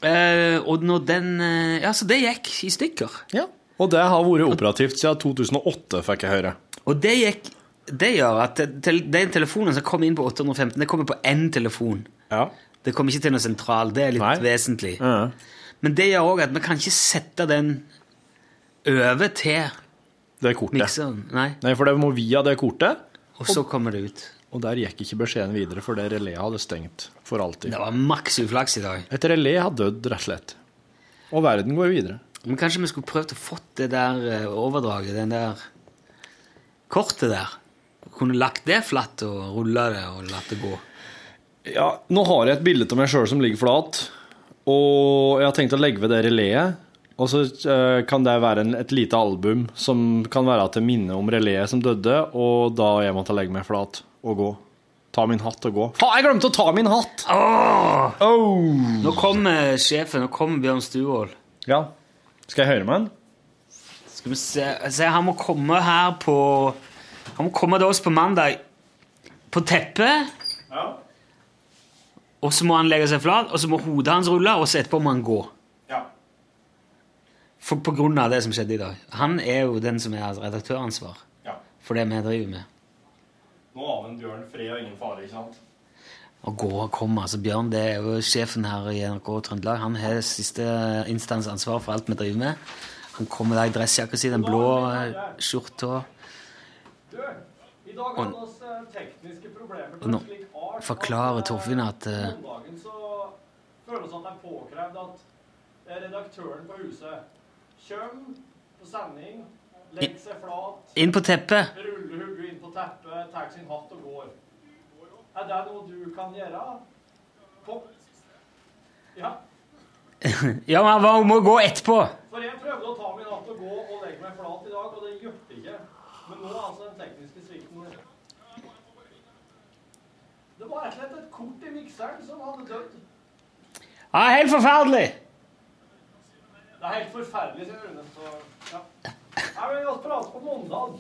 B: Eh, og når den eh, Ja, så det gikk i stykker.
D: Ja. Og det har vært operativt siden 2008, fikk jeg høre.
B: Og det gikk Det gjør at te- te- den telefonen som kom inn på 815, det kommer på én telefon.
D: Ja.
B: Det kommer ikke til noe sentral. Det er litt
D: Nei.
B: vesentlig. Men det gjør òg at vi kan ikke sette den over til
D: Det er kortet.
B: mikseren. Nei.
D: Nei, for det må via det kortet.
B: Og så kommer det ut.
D: Og der gikk ikke beskjeden videre, for det reléet hadde stengt for alltid.
B: Det var maks uflaks i dag.
D: Et relé har dødd, rett og slett. Og verden går videre.
B: Men kanskje vi skulle prøvd å fått det der eh, overdraget, den der kortet der. Kunne lagt det flatt og rulla det og latt det gå.
D: Ja, nå har jeg et bilde av meg sjøl som ligger flat, og jeg har tenkt å legge ved det reléet. Og så eh, kan det være en, et lite album som kan være til minne om reléet som døde, og da jeg måtte legge meg flat og gå. Ta min hatt og gå. Faen, jeg glemte å ta min hatt! Oh.
B: Nå kommer sjefen, nå kommer Bjørn Stuvold.
D: Ja. Skal jeg høre med han?
B: Skal vi se, se Han må komme her på Han må komme til oss på mandag på teppet. Og så må han legge seg flat, og så må hodet hans rulle, og så etterpå må han gå. For, på grunn av det som skjedde i dag. Han er jo den som har redaktøransvar for det vi driver med.
D: Nå aner Bjørn fred og ingen fare, ikke sant?
B: Å gå og komme, altså Bjørn det er jo sjefen her i NRK Trøndelag. Han har siste instans ansvar for alt vi driver med. Han kommer der i dressjakka si, den blå eh, skjorta.
D: I dag
B: Og-
D: oss tekniske problemer
B: Og nå forklarer Torfinn at eh,
D: dagen så føler vi at det er påkrevd at redaktøren på huset kommer på sending, legger seg flat,
B: Inn på teppet!
D: ruller hodet inn på teppet, tar sin hatt og går. Er det noe du kan gjøre? Kom. Ja,
B: Ja, men han må gå etterpå!
D: for jeg prøvde å ta min hatt og gå og legge meg flat i dag, og det hjalp ikke. Men nå er altså den tekniske svikten Det var rett og slett et kort i mikseren som hadde dødd.
B: Ja, helt forferdelig!
D: Det er helt forferdelig, sier Rune. Så, ja. Nei, men vi prater på mandag.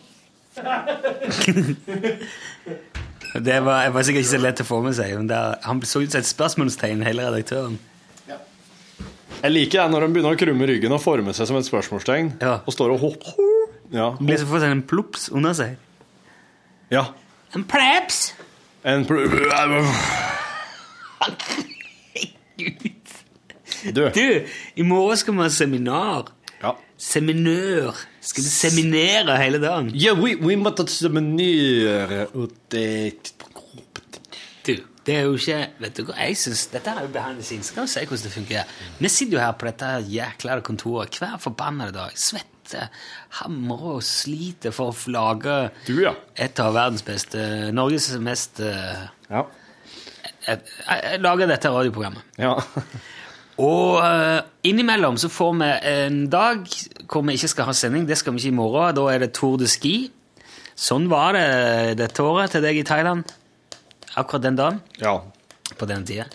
B: Det var, jeg var sikkert ikke så lett å få med seg. Men det, han så ut som et spørsmålstegn, hele redaktøren.
G: Jeg liker det når de begynner å krumme ryggen og forme seg som et spørsmålstegn.
B: Ja.
G: Og står og hopper. Ja.
B: Han blir så fått en plops under seg.
G: ja.
B: En pleps!
G: En pl...
B: Gud.
G: Du.
B: Du, i morgen skal vi ha seminar.
G: Ja.
B: Seminør. Skal vi seminere hele dagen?
G: Ja, vi, vi måtte seminere ut et
B: Du, det er jo ikke Vet du hva, jeg synes, Dette er jo behind the scenes. Skal vi se hvordan det funker. Vi sitter jo her på dette jækla kontoret hver forbanna dag. Svetter, hamrer og sliter for å lage
G: Du, ja.
B: et av verdens beste Norges mest eh,
G: Ja.
B: eh, eh, Lage dette radioprogrammet.
G: ja.
B: Og eh, innimellom så får vi en dag hvor vi ikke skal ha sending. Det skal vi ikke i morgen. Da er det Tour de Ski. Sånn var det dette året til deg i Thailand. Akkurat den dagen.
G: ja.
B: på den tida.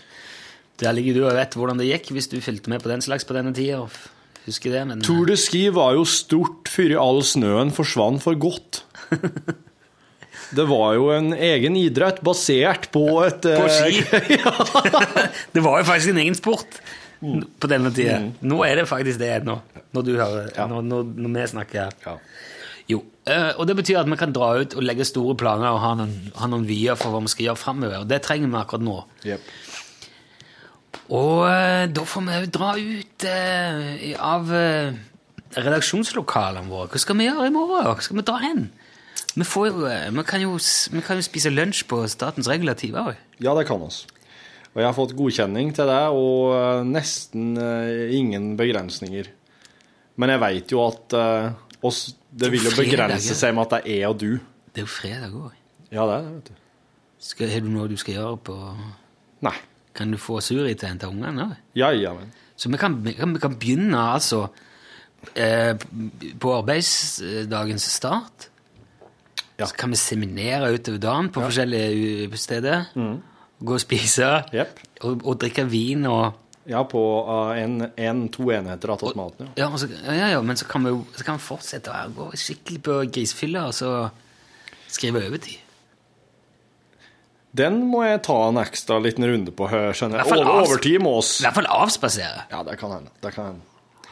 B: Der ligger du og vet hvordan det gikk hvis du fulgte med på den slags på denne tida og f- husker det, men
D: Tour de Ski var jo stort før all snøen forsvant for godt. Det var jo en egen idrett basert på et
B: På
D: eh,
B: ski! det var jo faktisk en egen sport på denne tida. Nå er det faktisk det nå, når du hører når, når, når vi snakker her. Jo, eh, og det betyr at vi kan dra ut og legge store planer og ha noen, ha noen vyer for hva vi skal gjøre framover. Og det trenger vi akkurat nå. Og eh, da får vi jo dra ut eh, i- av eh, redaksjonslokalene våre. Hva skal vi gjøre i morgen? Hva skal vi dra hen? Vi, får, jo, eh, vi, kan, jo, s- vi kan jo spise lunsj på Statens regulativ òg.
D: Ja, det kan oss. Og jeg har fått godkjenning til det, og eh, nesten eh, ingen begrensninger. Men jeg veit jo at eh, oss, det vil jo
B: Fredag, ja.
D: begrense seg med at det er jeg og du.
B: Det er jo fredag òg.
D: Ja, det er det, vet du.
B: Skal, er det noe du skal gjøre på
D: Nei.
B: Kan du få Suri til å hente ungene? da?
D: Ja, ja, men.
B: Så vi kan, vi kan, vi kan begynne altså eh, på arbeidsdagens start.
D: Ja.
B: Så kan vi seminere utover dagen på forskjellige u- steder.
D: Mm.
B: Gå og spise
D: Jepp.
B: og, og drikke vin og
D: Ja, på eh, en, en, to enheter attåt maten, ja.
B: ja, og så, ja, ja, men så kan vi, jo- så kan vi fortsette å gå skikkelig på grisefylla og så skrive overtid.
D: Den må jeg ta en ekstra liten runde på, hø- skjønner
B: I hvert
D: jeg.
B: fall
D: Over,
B: avs-
D: overtid må oss.
B: I hvert fall avspasere.
D: Ja, det kan hende. Det kan hende.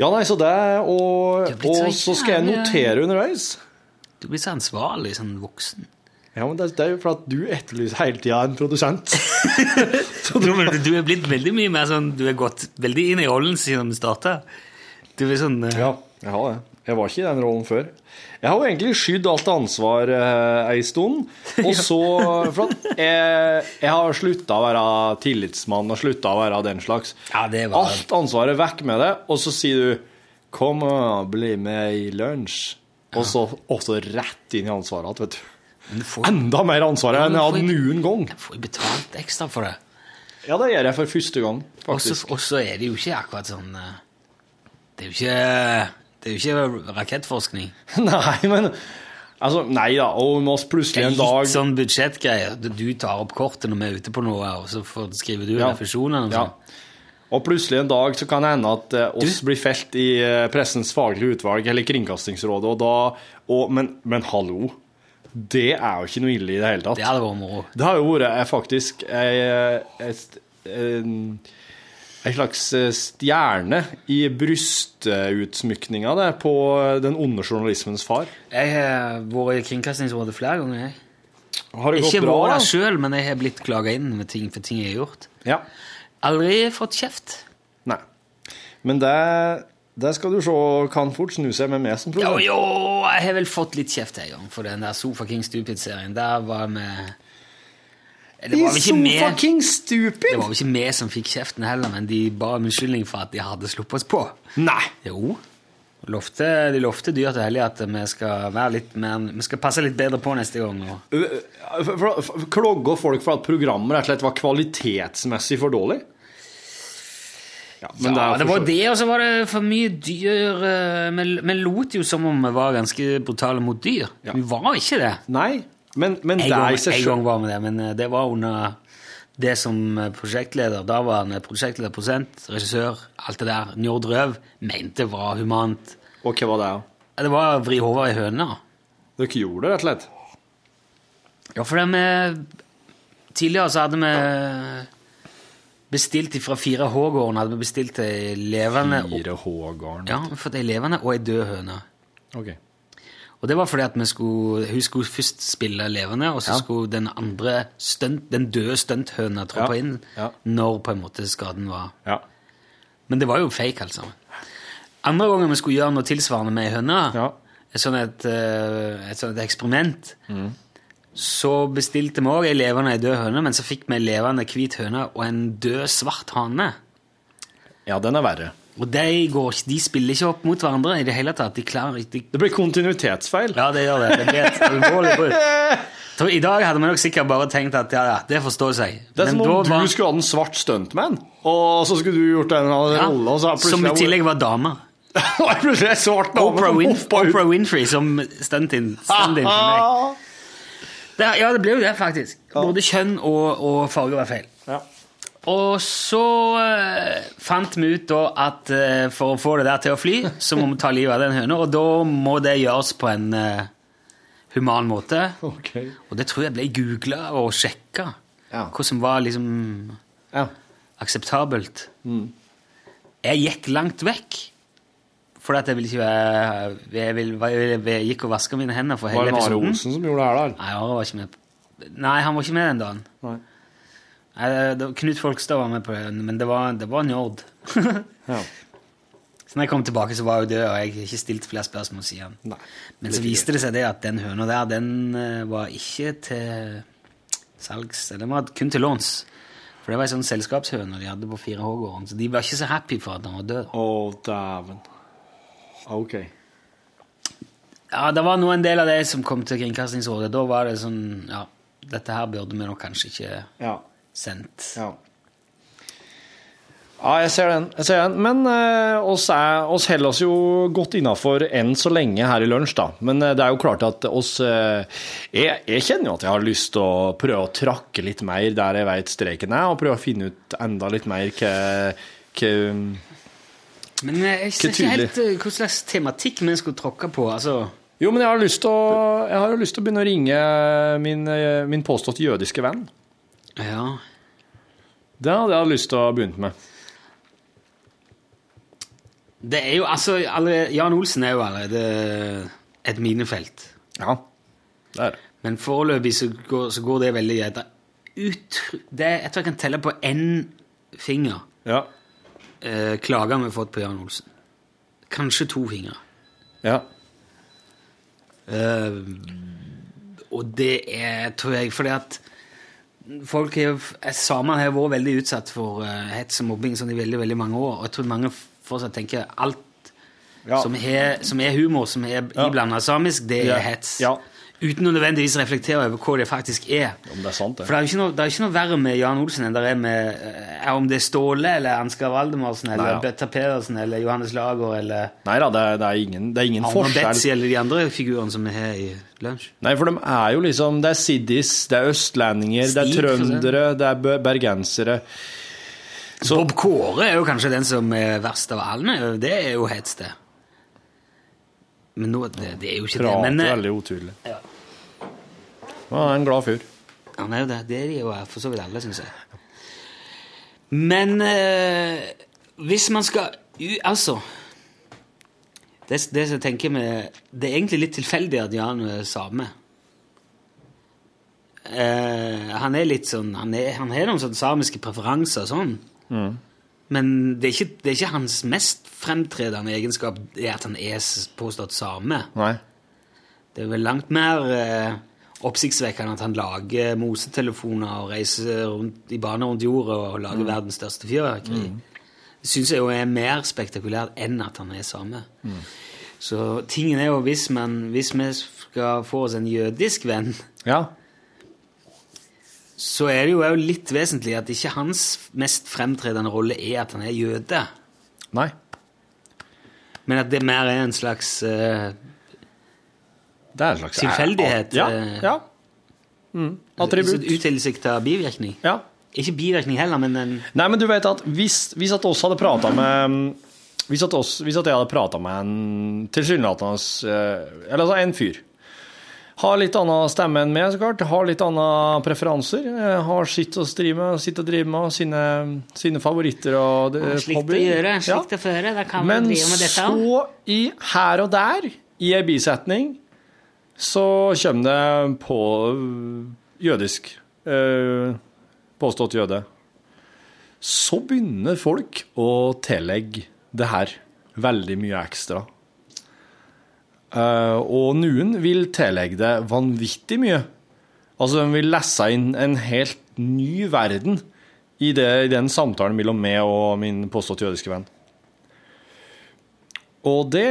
D: Ja, nei, så det Og,
B: Det blir så
D: og så skal jeg
B: jævlig-
D: notere underveis.
B: Du blir så ansvarlig, sånn voksen.
D: Ja, men det, det er jo for at du etterlyser hele tida en produsent.
B: Jo, men du er blitt veldig mye mer sånn Du er gått veldig inn i rollen siden du starta. Du er sånn eh,
D: Ja, jeg har det. Jeg var ikke i den rollen før. Jeg har jo egentlig skydd alt ansvar eh, ei stund. Og så For at jeg, jeg har slutta å være tillitsmann og slutta å være den slags.
B: Ja, det var-
D: Alt ansvaret vekk med det, og så sier du 'Kom og bli med i lunsj', og så, og så rett inn i ansvaret igjen, vet du.
B: Men du får,
D: Enda mer ansvar enn jeg hadde noen gang.
B: du får jo betalt ekstra for det.
D: Ja, det gjør jeg for første gang,
B: Og så
D: faktisk.
B: og så er det jo ikke akkurat sånn eh, Det er jo ikke, det er jo ikke rakettforskning.
D: Nei, men Altså, nei da, og med oss
B: Det
D: plutselig
B: er
D: en
B: litt
D: dag
B: sånn budsjettgreier. Du tar opp kortet når vi er ute på noe, og så får, skriver du
D: Ja.
B: refusjonene. og
D: Ja.
B: sånn.
D: Og plutselig en dag så kan det hende at eh, oss blir felt i eh, pressens faglige utvalg eller Kringkastingsrådet, og da og, men, men hallo, det er jo ikke noe ille i det hele tatt.
B: Det hadde vært moro.
D: Det har jo vært eh, faktisk ei, eh, et, en, en slags eh, stjerne i brystutsmykninga det, på eh, den onde journalismens far.
B: Jeg har vært i Kringkastingsrådet flere ganger. jeg.
D: Har det
B: Ikke altså.
D: gått bra?
B: vært der
D: da?
B: sjøl, men jeg har blitt klaga inn med ting, for ting jeg har gjort.
D: Ja.
B: Aldri fått kjeft.
D: Nei. Men det, det skal du se kan fort snu seg med meg som
B: Jo,
D: produsent.
B: jo, jeg har vel fått litt kjeft en gang for den der Sofa King Stupid-serien. Der var vi Det var vel ikke vi
D: Sofa King Stupid!
B: Det var vel ikke vi som fikk kjeften heller, men de ba om unnskyldning for at de hadde sluppet oss på.
D: Nei.
B: Jo. Lovte, de lovte dyrt og hellig at vi skal, være litt mer, vi skal passe litt bedre på neste gang. Og
D: For- for- for- Klogger folk for at programmet rett og slett var kvalitetsmessig for dårlig? Ja, men
B: ja,
D: er
B: det var
D: for-
B: det, og så var det for mye dyr eh, Vi vi lot jo som om vi var ganske brutale mot dyr.
D: Ja.
B: Vi var ikke det.
D: Nei, men, men
B: En
D: det er i
B: gang,
D: seg
B: en
D: sjøl
B: gang var vi det, men eh, det var under det som eh, prosjektleder, da var han eh, prosjektleder, prosent, regissør, alt det der, Njord Røv, mente var humant.
D: Og hva var det? da?
B: Ja, Det var å vri hodet i høna.
D: Dere gjorde det rett og slett?
B: Ja, for det med Tidligere så hadde vi bestilt fra 4H-gården, hadde vi bestilt ei levende, og,
D: Fire Hågarden.
B: ja, fått ei levende og ei død høne.
D: Ok.
B: Og det var fordi at vi skulle, hun skulle først spille levende, og så skulle den andre stunt, den døde stunthøna troppe
D: Ja,
B: inn
D: ja.
B: når på en måte skaden var
D: Ja.
B: Men det var jo fake, altså. Andre gangen vi skulle gjøre noe tilsvarende med ei høne,
D: Ja.
B: et sånt et, eh, et sånt eksperiment,
D: Mm.
B: så bestilte vi òg ei levende og ei død høne, men så fikk vi ei levende hvit høne og en død svart hane.
D: ja, den er verre.
B: Og de, går, ikke- de spiller ikke opp mot hverandre i det hele tatt. De klarer ikke de
D: Det blir kontinuitetsfeil.
B: Ja, det gjør det. Det blir et alvorlig brudd. Så I dag hadde vi nok sikkert bare tenkt at ja, ja, det forstår seg.
D: Det er som
B: Men
D: om
B: da
D: du
B: var-
D: skulle hatt en svart stuntman, og så skulle du gjort en eller annen
B: ja,
D: rolle, og så er
B: Som i
D: plutselig
B: tillegg var dame.
D: Og plutselig er det svart dame
B: Oprah,
D: som
B: Win
D: hopper ut.
B: Oprah Winfrey som stand-in stand for meg.
D: Ah!
B: Det, ja, det ble jo det, faktisk. Både kjønn og, og farge var feil.
D: Ja.
B: Og så eh, fant vi ut da at eh, for å få det der til å fly, så må vi ta livet av den høna, og da må det gjøres på en eh, human måte. Og det tror jeg ble googla og sjekka,
D: Ja.
B: hva som var liksom
D: Ja. Mm.
B: akseptabelt. Jeg gikk langt vekk. Fordi at jeg ville ikke være Jeg, vil, jeg, vil- jeg gikk og vaska mine hender for
D: Var
B: hele
D: det Are
B: episoden.
D: Olsen som gjorde det her, da?
B: Nei, Are var ikke med. Nei, han var ikke med den dagen.
D: Nei.
B: Nei, det- det- Knut Folkstad var med på det, men det var, det var Njord.
D: Ja.
B: Så når jeg kom tilbake, så var jeg jo død, og jeg har ikke stilt flere spørsmål siden.
D: Nei.
B: Men så viste det seg det at den høna der, den eh, var ikke til salgs, den var kun til låns. For det var en sånn selskapshøne de hadde på 4H-gården, så de var ikke så happy for at den var død.
D: Å, dæven. OK.
B: Ja, det var noe en del av det som kom til Kringkastingsrådet. Da var det sånn Ja, dette her burde vi nok kanskje ikke
D: Ja.
B: sendt.
D: Ja. Ja, jeg ser den. Jeg ser den. Men eh, oss, er, oss holder oss jo godt innafor enn så lenge her i lunsj, da. Men eh, det er jo klart at oss eh, jeg, jeg kjenner jo at jeg har lyst til å prøve å trakke litt mer der jeg veit streken er, og prøve å finne ut enda litt mer hva, hva
B: Men eh, jeg ser
D: Ikke
B: ikke helt eh, hva slags tematikk vi skulle tråkke på. Altså
D: Jo, men jeg har, lyst til å, jeg har jo lyst til å begynne å ringe min, eh, min påstått jødiske venn.
B: Ja.
D: Det hadde jeg lyst til å begynne med.
B: Det er jo altså allerede, Jan Olsen er jo allerede et minefelt.
D: Ja. Det er det.
B: Men foreløpig så går, så går det veldig greit. Det er utro- det er- Jeg tror jeg kan telle på én finger
D: Ja.
B: eh, klager vi har fått på Jan Olsen. Kanskje to fingre.
D: ja.
B: Eh, og det er, tror jeg, fordi at folk er, samer har vært veldig utsatt for eh, hets og mobbing sånn i veldig, veldig mange år. Og jeg tror mange fortsatt tenker alt
D: Ja.
B: som, er, som er humor, som er
D: Ja.
B: iblanda samisk, det
D: Ja.
B: er hets.
D: Ja.
B: Uten å nødvendigvis reflektere over hva det faktisk er.
D: Om det er sant, det.
B: For det er jo ikke noe, det er jo ikke noe verre med Jan Olsen enn det er med eh, om det er Ståle eller Ansgar Valdemarsen eller
D: Nei, ja.
B: Bøtta Pedersen eller Johannes Lager eller
D: Nei da, det, er- det er ingen, det er ingen
B: Arne Betzy
D: forskjell.
B: eller de andre figurene som vi har i Lunsj.
D: Nei, for de er jo liksom Det er siddis, det er østlendinger, det
B: Stig,
D: er
B: for eksempel.
D: trøndere, det er bø- bergensere.
B: Bob Kåre er jo kanskje den som er verst av alle. Det er jo hets, det. Men nå, det, det er jo ikke det.
D: Prater
B: Men eh,
D: veldig utydelig.
B: Ja.
D: Ja, han er en glad fyr.
B: han er jo det. Det er de jo eh, for så vidt alle, syns jeg. Men eh, hvis man skal u- Altså det, det som jeg tenker med Det er egentlig litt tilfeldig at Jan er same. Eh, han er litt sånn Han er- han har noen sånne samiske preferanser og sånn. Men det er, ikke, det er ikke hans mest fremtredende egenskap det er at han er s- påstått same.
D: Nei.
B: Det er vel langt mer eh, oppsiktsvekkende at han lager mosetelefoner og reiser rundt, i bane rundt jorda og
D: Mm.
B: lager verdens største fyrverkeri. Det syns jeg jo er mer spektakulært enn at han er same.
D: Mm.
B: Så tingen er jo hvis, man, hvis vi skal få oss en jødisk venn,
D: Ja.
B: så er det jo også litt vesentlig at ikke hans mest fremtredende rolle er at han er jøde.
D: Nei.
B: Men at det mer er en slags eh,
D: Det er en slags
B: Tilfeldighet,
D: Ja.
B: eh.
D: ja. Mm. Attributt.
B: utilsikta bivirkning.
D: Ja.
B: Ikke bivirkning heller, men en
D: Nei, men du vet at hvis, hvis at oss hadde prata med mm, hvis at, oss, hvis at jeg hadde prata med en tilsynelatende eh, Eller altså en fyr. Har litt annen stemme enn meg, så klart. Har litt andre preferanser. eh, Har sitt å stri med, sitt å drive med, og sine, sine favoritter og eh,
B: Slikt å
D: hobbyer.
B: gjøre,
D: Ja.
B: slikt å føre. Da kan man
D: Men
B: drive med dette òg.
D: så, i, her og der, i ei bisetning, så kommer det på øh, jødisk eh, Påstått jøde. Så begynner folk å tillegge det her veldig mye ekstra. Eh, og noen vil tillegge det vanvittig mye. Altså, de vil lese inn en helt ny verden i, det, i den samtalen mellom meg og min påstått jødiske venn. Og det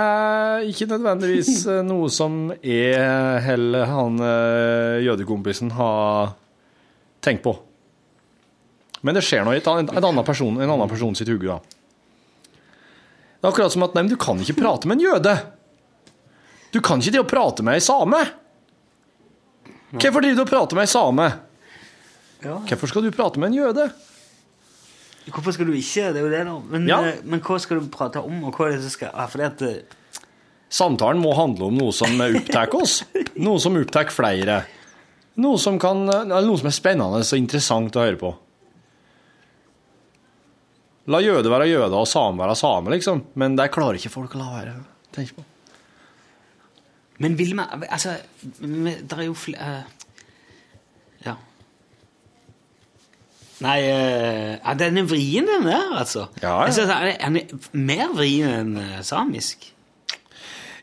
D: er ikke nødvendigvis eh, noe som jeg heller han eh, jødekompisen har tenkt på. Men det skjer noe i et, annet- et annen person, en annen person sitt hode, da. Det er akkurat som at nei, men du kan ikke prate med en jøde. Du kan ikke drive og prate med ei same. Hvorfor driver du og prater med ei same? Hvorfor skal du prate med en jøde?
B: Hvorfor skal du ikke? Det er jo det, da. Men,
D: Ja.
B: eh, men hva skal du prate om, og hva er det som skal ah, fordi at, eh,
D: Samtalen må handle om noe som opptar oss. Noe som opptar flere. Noe som, kan, eller noe som er spennende og interessant å høre på. La jøde være jøde og same være same, liksom. Men det klarer ikke folk å la være. Tenk på.
B: Men vil man Altså, det er jo fl... eh, ja. Nei eh, ja, Den er vrien, den der, altså.
D: Ja, ja.
B: Jeg synes den er, den er mer vrien enn eh, samisk.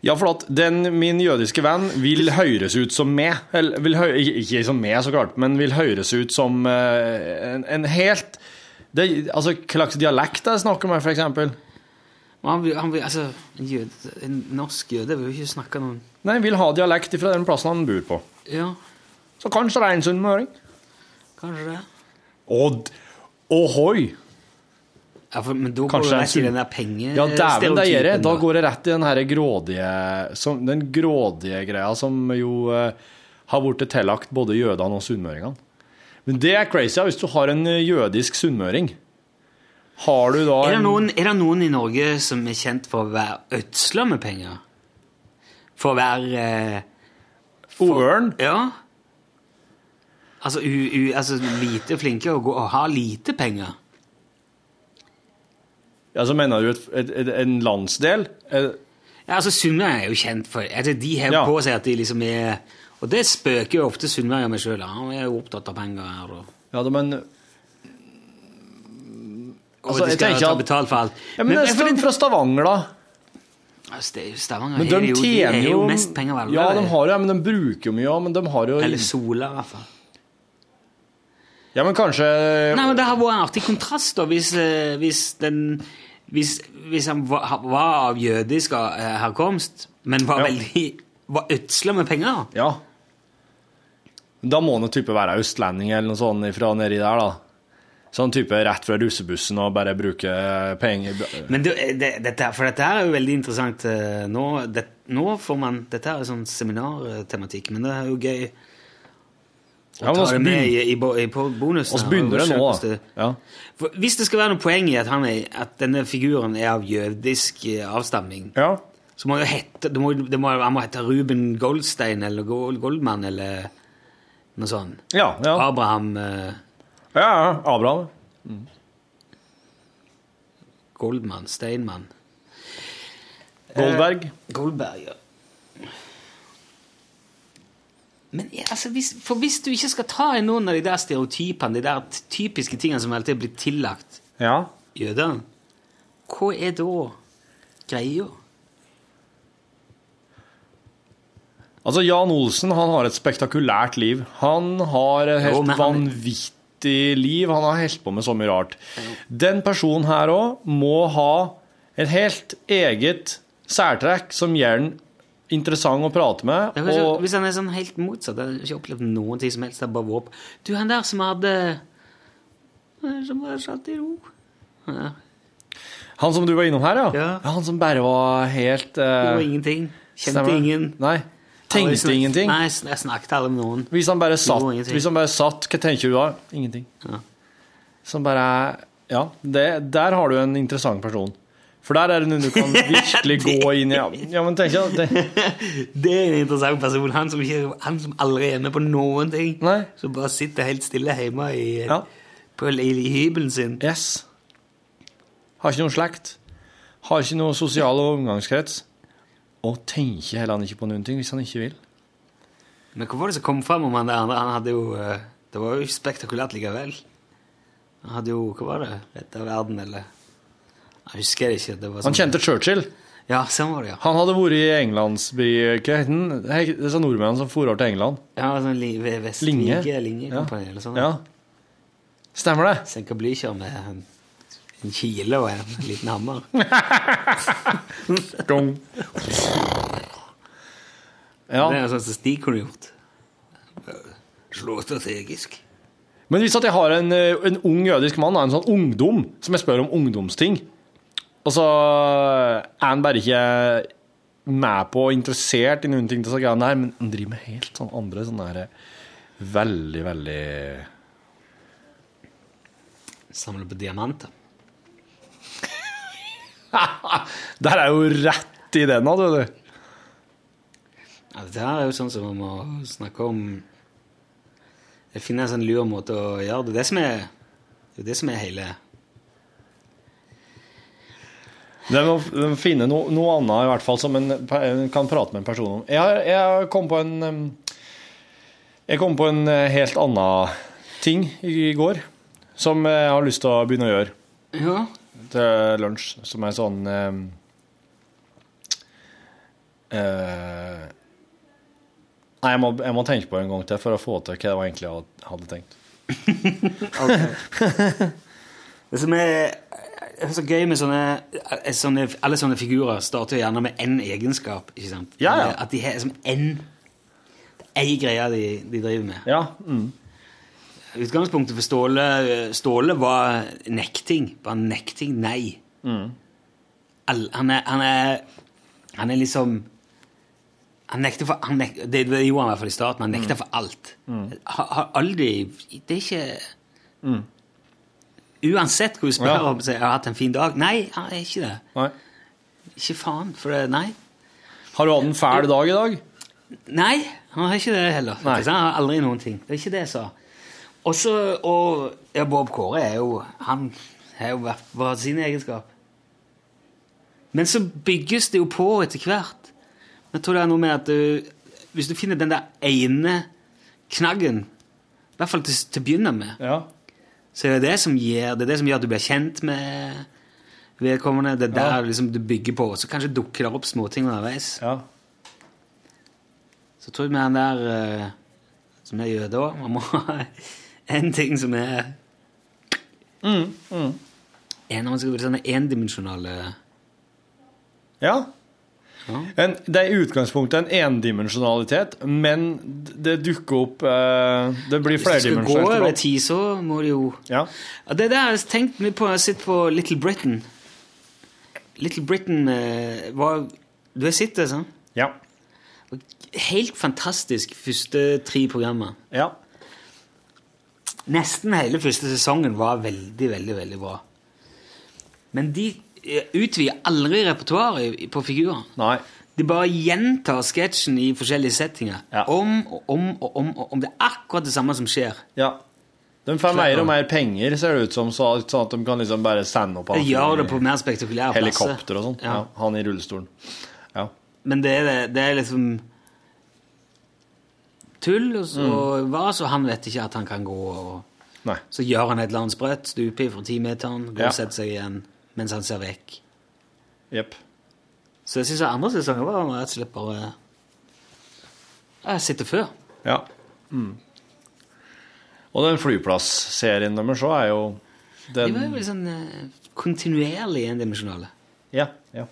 D: Ja, for at den, min jødiske venn vil høres ut som meg. Eller vil hø ikke- ikke som meg, så klart, men vil høres ut som eh, en, en helt det, Altså, hva slags dialekt er det snakk om her, for eksempel?
B: Men Han vil, han vil, altså, en, jøde, en norsk jøde vil jo ikke snakke noen
D: Nei, vil ha dialekt fra den plassen han bor på.
B: Ja,
D: Så kanskje det er en sunnmøring.
B: kanskje det.
D: Odd. Ohoi!
B: Ja, for, men da går
D: Kanskje
B: du
D: en
B: rett i
D: sunn-
B: den der penge...
D: Ja, dæven, det gjør jeg. Da
B: Eh, stereotypen,
D: går jeg rett i den her grådige som, Den grådige greia som jo eh, har blitt tillagt både jødene og sunnmøringene. Men det er crazy ja, hvis du har en eh, jødisk sunnmøring. Har du da
B: Er det,
D: en
B: noen, er det noen i Norge som er kjent for å være ødsla med penger? For å være eh,
D: ørn?
B: Ja. Altså, u, u, altså lite flinke og, gå, og ha lite penger.
D: Ja, så mener du et, et, et, en landsdel? Eh,
B: Ja, altså Sunnmøre er jo kjent for altså, De har
D: Ja.
B: på seg at de liksom er Og det spøker jo ofte sunnmøringer med sjøl. Han er jo opptatt av penger her, og,
D: Ja, da, men
B: og
D: Altså,
B: de
D: jeg
B: skal
D: tenker
B: ta
D: at-
B: betalt for alt.
D: ja, men, det er
B: for
D: fra Stavanger, da.
B: altså, det er jo Stavanger
D: Men
B: er
D: de
B: jo, de
D: tjener
B: er
D: jo
B: jo mest penger av alle.
D: Ja, de har jo, ja, men de bruker mye, ja, men de har jo
B: Eller Sola, i hvert fall.
D: Ja, men kanskje
B: Nei, men Det har vært en artig kontrast da, hvis, eh, hvis, den, hvis, hvis han var, ha- var av jødisk eh, herkomst, men var
D: Ja.
B: veldig var ødsla med penger.
D: Ja. Da må han jo type være østlending eller noe sånt fra nedi der, da. Sånn type rett fra russebussen og bare bruke penger
B: Men det, det, dette, her- for dette her er jo veldig interessant. eh, Nå, det, nå får man Dette her er sånn seminartematikk, men det er jo gøy
D: Ja,
B: å
D: men
B: ta
D: oss
B: det med i,
D: begyn-
B: i, bo- i på bonus.
D: oss begynner det nå, da. Ja.
B: For hvis det skal være noe poeng i at, han er, at denne figuren er av jødisk eh, avstamning,
D: ja.
B: Så må jo hette, det må, det må, han må hete Ruben Goldstein eller Gold, Goldman eller noe sånt.
D: Ja, ja.
B: Abraham eh, Mm.
D: ja, ja. Abraham.
B: Goldman, Steinmann.
D: Goldberg.
B: Goldberg, ja. Men ja, altså, hvis, for hvis du ikke skal ta i noen av de der stereotypene, de der t- typiske tingene som alltid er blitt tillagt
D: Ja.
B: jødene, hva er da greia?
D: Altså, Jan Olsen han har et spektakulært liv. Han har et
B: Jo,
D: helt
B: men han-
D: vanvittig liv. Han har holdt på med så mye rart. Den personen her òg må ha et helt eget særtrekk som gjør den interessant å prate med.
B: Det er kanskje,
D: og...
B: hvis han er sånn helt motsatt, jeg har ikke opplevd noen ting som helst, det er bare våp. Du, han der som hadde Som var satt i ro. Ja,
D: Han som du var innom her, ja?
B: Ja.
D: Han som bare var helt eh,
B: det var ingenting. Kjente
D: stemmer.
B: ingen.
D: Nei.
B: Aldri
D: Tenkte
B: snak-
D: ingenting.
B: Nei, sn- jeg snakket aldri med noen.
D: Hvis han bare satt,
B: ingenting.
D: hvis han bare satt hva tenker du da? Ingenting.
B: Ja.
D: Som bare Ja, det, der har du en interessant person. For der er det noe du kan virkelig gå inn i. Ja, ja men tenk deg at det,
B: Det er en interessant person. Han som, ikke, han som aldri er med på noen ting.
D: Nei.
B: Som bare sitter helt stille hjemme i,
D: Ja.
B: på, i, i hybelen sin.
D: Yes. Har ikke noe slekt. Har ikke noe sosial omgangskrets. Og tenker heller ikke på noen ting hvis han ikke vil.
B: Men hva var det som kom fram om han der? Han, han hadde jo eh, Det var jo spektakulært likevel. Han hadde jo Hva var det? Dette er verden, eller? Jeg husker det ikke. Det var
D: Han
B: sånn-
D: kjente Churchill.
B: Ja, sånn var det, ja.
D: Han hadde vært i Englandsby Hva heter den? Hei, Disse nordmennene som for over til England.
B: ja sånn li, ve-
D: Linge.
B: Vestlige Lingekompani eller sånn.
D: Ja. Stemmer det?
B: Senka Blücher med en, en kile og en liten hammer.
D: Ja.
B: Det er sånn som Stig kunne gjort. Slå strategisk.
D: Men hvis at jeg har en, eh, en ung jødisk mann, da, en sånn ungdom, som jeg spør om ungdomsting, og så er han bare ikke med på og interessert i noen ting til disse sånn greiene her, men han driver med helt sånn andre sånne her, eh, veldig, veldig
B: Samle på diamanter.
D: Der er jo rett i den, da, du.
B: Ja, dette her er jo sånn som vi må snakke om Det finnes en sånn lur måte å gjøre det Det er det som er, det er, det som er hele
D: De må f- de må finne no, noe annet i hvert fall som en, pe- en kan prate med en person om. Jeg, har- jeg kom på en em, Jeg kom på en eh, helt annen ting i går som jeg har lyst til å begynne å gjøre.
B: Ja.
D: til lunsj, som er sånn eh, eh, Nei, jeg må, jeg må tenke på det en gang til for å få til hva det var egentlig jeg had- hadde tenkt.
B: Det som er, det er så gøy med sånne, eh, sånne Alle sånne figurer starter jo gjerne med én egenskap. ikke sant?
D: Ja, ja.
B: At de har som én Ei greie de, de driver med.
D: Ja, mm.
B: Utgangspunktet for Ståle, Ståle var nekting. Bare nekting nei.
D: Mm.
B: All- han, er, han er Han er liksom han nekter for, han nek, det, det gjorde han i hvert fall i starten. Han
D: Mm.
B: nekter for alt. Har, har aldri Det er ikke Uansett hvor du spør
D: Mm. Ja.
B: om så jeg har hatt en fin dag Nei, han er ikke det.
D: nei.
B: Ikke faen. For det, nei.
D: Har du hatt en fæl dag i dag?
B: Nei, han har ikke det heller.
D: Nei.
B: Han har aldri noen ting. Det er ikke det jeg sa. Også, og ja, Bob Kåre er jo Han har jo vært bare sin egenskap. Men så bygges det jo på etter hvert. Jeg tror det er noe med at du, hvis du finner den der ene knaggen, i hvert fall til, til å begynne med,
D: Ja.
B: så er det det som gjør, det er det som gjør at du blir kjent med vedkommende. Det er der liksom du bygger på. Så kanskje dukker det opp småting underveis.
D: ja.
B: Så tror jeg med han der eh, som er jøde òg Man må ha en ting som er En, man skal bli sånne endimensjonale
D: ja.
B: Ja.
D: En, det er i utgangspunktet en endimensjonalitet, men det dukker opp eh, Det blir
B: Hvis du skal gå over
D: flerdimensjonalt.
B: tid, så må du jo
D: Ja.
B: Ja, det der har jeg tenkt mye på. Jeg har sett på Little Britain. Little Britain eh, var Du har sett det, sånn?
D: Ja.
B: Helt fantastisk første tre programmer.
D: ja.
B: Nesten hele første sesongen var veldig, veldig, veldig bra. Men de eh, utvider aldri repertoaret i- på figurene.
D: Nei.
B: De bare gjentar sketsjen i forskjellige settinger.
D: Ja.
B: Om og om og om. og om. Det er akkurat det samme som skjer.
D: Ja. De får mer og mer penger, ser det ut som, så- sånn at de kan liksom bare sende opp
B: De gjør det
D: i-
B: på mer spektakulære plasser.
D: Helikopter og sånn. Ja.
B: Ja.
D: han i rullestolen. Ja.
B: Men det er, det- det er liksom tull og så og vas, og han vet ikke at han kan gå. og
D: Mm. Nei.
B: Så gjør han et eller annet sprøtt, stuper fra timeteren, går
D: Ja.
B: og setter seg igjen mens han ser vekk.
D: Jepp.
B: Så jeg syns andre sesonger var rett og slett bare Jeg sitter før.
D: Ja. Mm. Og den flyplass-serien deres òg er jo
B: De var jo
D: den
B: veldig sånn eh, kontinuerlig endimensjonale.
D: Ja. ja.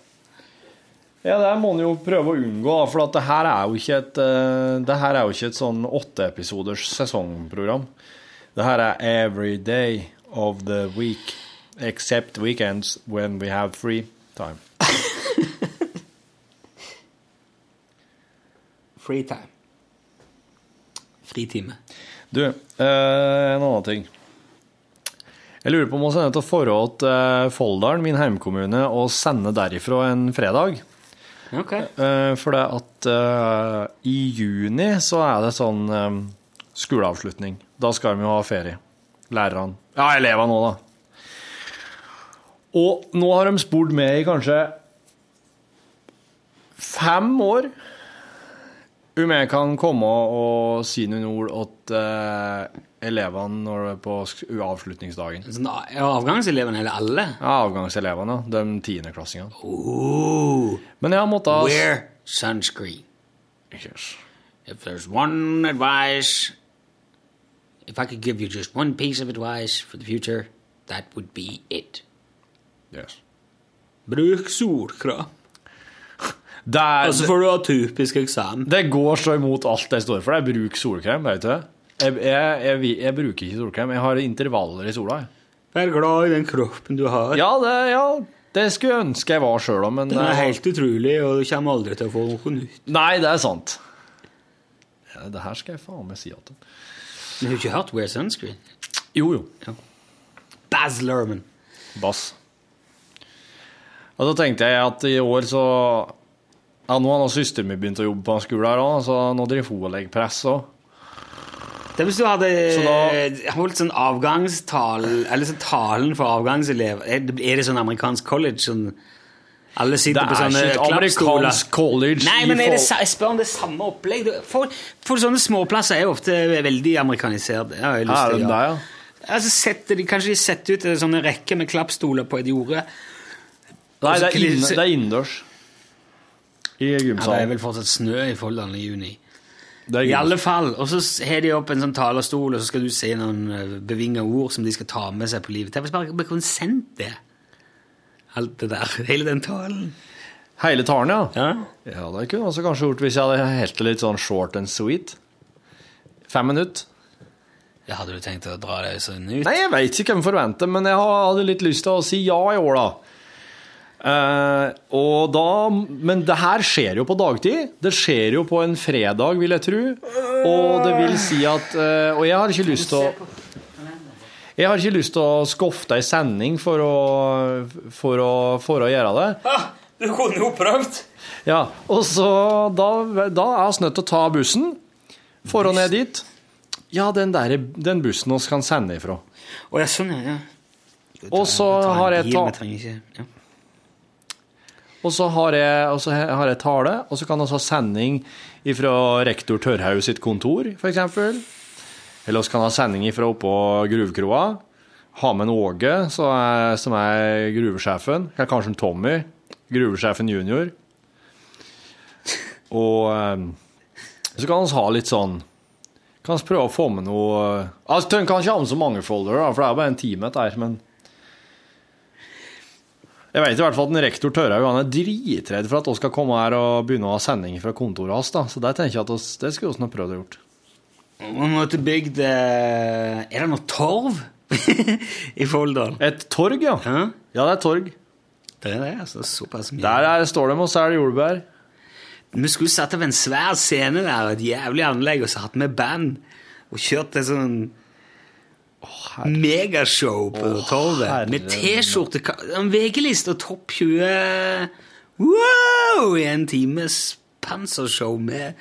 D: Ja, det her må en jo prøve å unngå, da, for at det her er jo ikke et eh, Det her er jo ikke et sånn åtteepisoders sesongprogram. Det her er every day of the week except weekends when we have free time.
B: Freetime. Fritime.
D: Du, eh, en annen ting. Jeg lurer på om å sende til forhold til eh, Folldalen, min heimkommune, og sende derifra en fredag.
B: Ok.
D: Eh, for det at eh, i juni så er det sånn eh, skoleavslutning. Da skal de jo ha ferie. Lærerne. Ja, elevene nå, da. Og nå har de spurt meg i kanskje fem år om jeg kan komme og si noen ord til elevene når det er på sk- avslutningsdagen.
B: Sånn, er avgangselevene eller alle?
D: Ja, avgangselevene, ja. De tiendeklassingene.
B: Oh,
D: Men jeg har måttet
B: wear sunscreen.
D: Yes.
B: If there's one advice, if I could give you just one piece of advice for the future, that would be it.
D: Yes.
B: Bruk solkrem.
D: Der,
B: Altså får du ha typisk eksamen.
D: Det går så imot alt jeg står for. Jeg bruker solkrem, vet du det? Jeg, jeg, jeg, vi- jeg bruker ikke solkrem. Jeg har intervaller i sola. jeg.
B: Vær glad i den kroppen du har.
D: Ja, det, ja, det skulle jeg ønske jeg var sjøl òg, men
B: Den er
D: eh,
B: helt utrolig, og du kommer aldri til å få noe nytt.
D: Nei, det er sant. Ja, Det her skal jeg faen meg si at
B: Men du har ikke hørt Wear Sunscreen?
D: Jo, jo.
B: Ja. Baz Luhrmann.
D: Bass. Og så tenkte jeg at i år så ja, Nå har nå søsteren min begynt å jobbe på en skole her òg, så nå driver hun og legger press òg.
B: Det er hvis du hadde
D: Så
B: holdt sånn avgangstalen, eller sånn talen for avgangselever Er det- er det sånn amerikansk college? Sånn, alle sitter
D: Det
B: på
D: er
B: sånne
D: ikke et
B: klappstoler?
D: amerikansk college
B: Nei,
D: i
B: men er det,
D: forhold-
B: sa- jeg spør om det er samme opplegg. Du- For, for sånne småplasser er jo ofte veldig amerikanisert. Det har jeg lyst
D: Er
B: til å gjøre.
D: den der, ja?
B: Altså, setter de, kanskje de setter ut en sånn rekke med klappstoler på et jorde?
D: Nei, det er,
B: Også-
D: inne, det er sånn. innendørs. I
B: Ja, det er
D: gymsalen.
B: vel fortsatt snø i Folldalen i juni.
D: det er
B: I
D: gymsalen.
B: alle fall. Og så s- har de opp en sånn talerstol, og så skal du si noen eh, bevinga ord som de skal ta med seg på livet. Tenk hvis bare bare kunne sendt det. Alt det der. Hele den talen.
D: Hele taren, ja.
B: Ja.
D: Ja, det kunne jeg også kanskje gjort hvis jeg hadde helt det litt sånn short and sweet. Fem minutter.
B: Hadde du tenkt å dra deg sånn ut?
D: Nei, jeg veit ikke hvem forventer, men jeg hadde litt lyst til å si ja i år, da. Eh, og da Men det her skjer jo på dagtid. Det skjer jo på en fredag, vil jeg tro. Og det vil si at eh, Og jeg har ikke lyst til å jeg har ikke lyst til å skuffe deg i sending for å, for å, for å gjøre det.
B: Ah, Du kunne jo prøvd!
D: Ja, og så da, da er vi nødt til å ta bussen for å ned dit. Ja, den, der, den bussen vi kan sende ifra.
B: Å ja, sånn, ja. ja.
D: Og så
B: Vi tar en
D: har jeg
B: bil,
D: ta-
B: vi trenger ikke- ja.
D: Og så har jeg, og så har jeg tale, og så kan vi ha sending fra rektor Tørhaug sitt kontor, f.eks. Eller vi kan ha sending fra oppå gruvekroa. Ha med en Åge, så er, som er gruvesjefen. Eller Kanskje en Tommy, gruvesjefen junior. Og eh, så kan vi ha litt sånn Kan vi prøve å få med noe Altså, Tønn kan ikke ha med så mange foldere, da, for det er jo bare en time dette her, men jeg vet i hvert fall at en rektor Tørhaug han er dritredd for at oss skal komme her og begynne å ha sending fra kontoret hans. da. Så der tenker jeg at oss, det skulle vi nå prøvd å gjort.
B: Vi måtte bygd eh, Er det noe torv i Folldal?
D: Et torg, ja.
B: Hæ?
D: Ja, det er et torg.
B: Det er det, altså. Såpass mye.
D: Der er, står de og selger jordbær.
B: Vi skulle satt opp en svær scene der, et jævlig anlegg, og så hatt med band. Og kjørt et sånn megashow på torvet. Med T-skjorte, ka- en VG-liste og topp 20 Wow! I en times pansershow med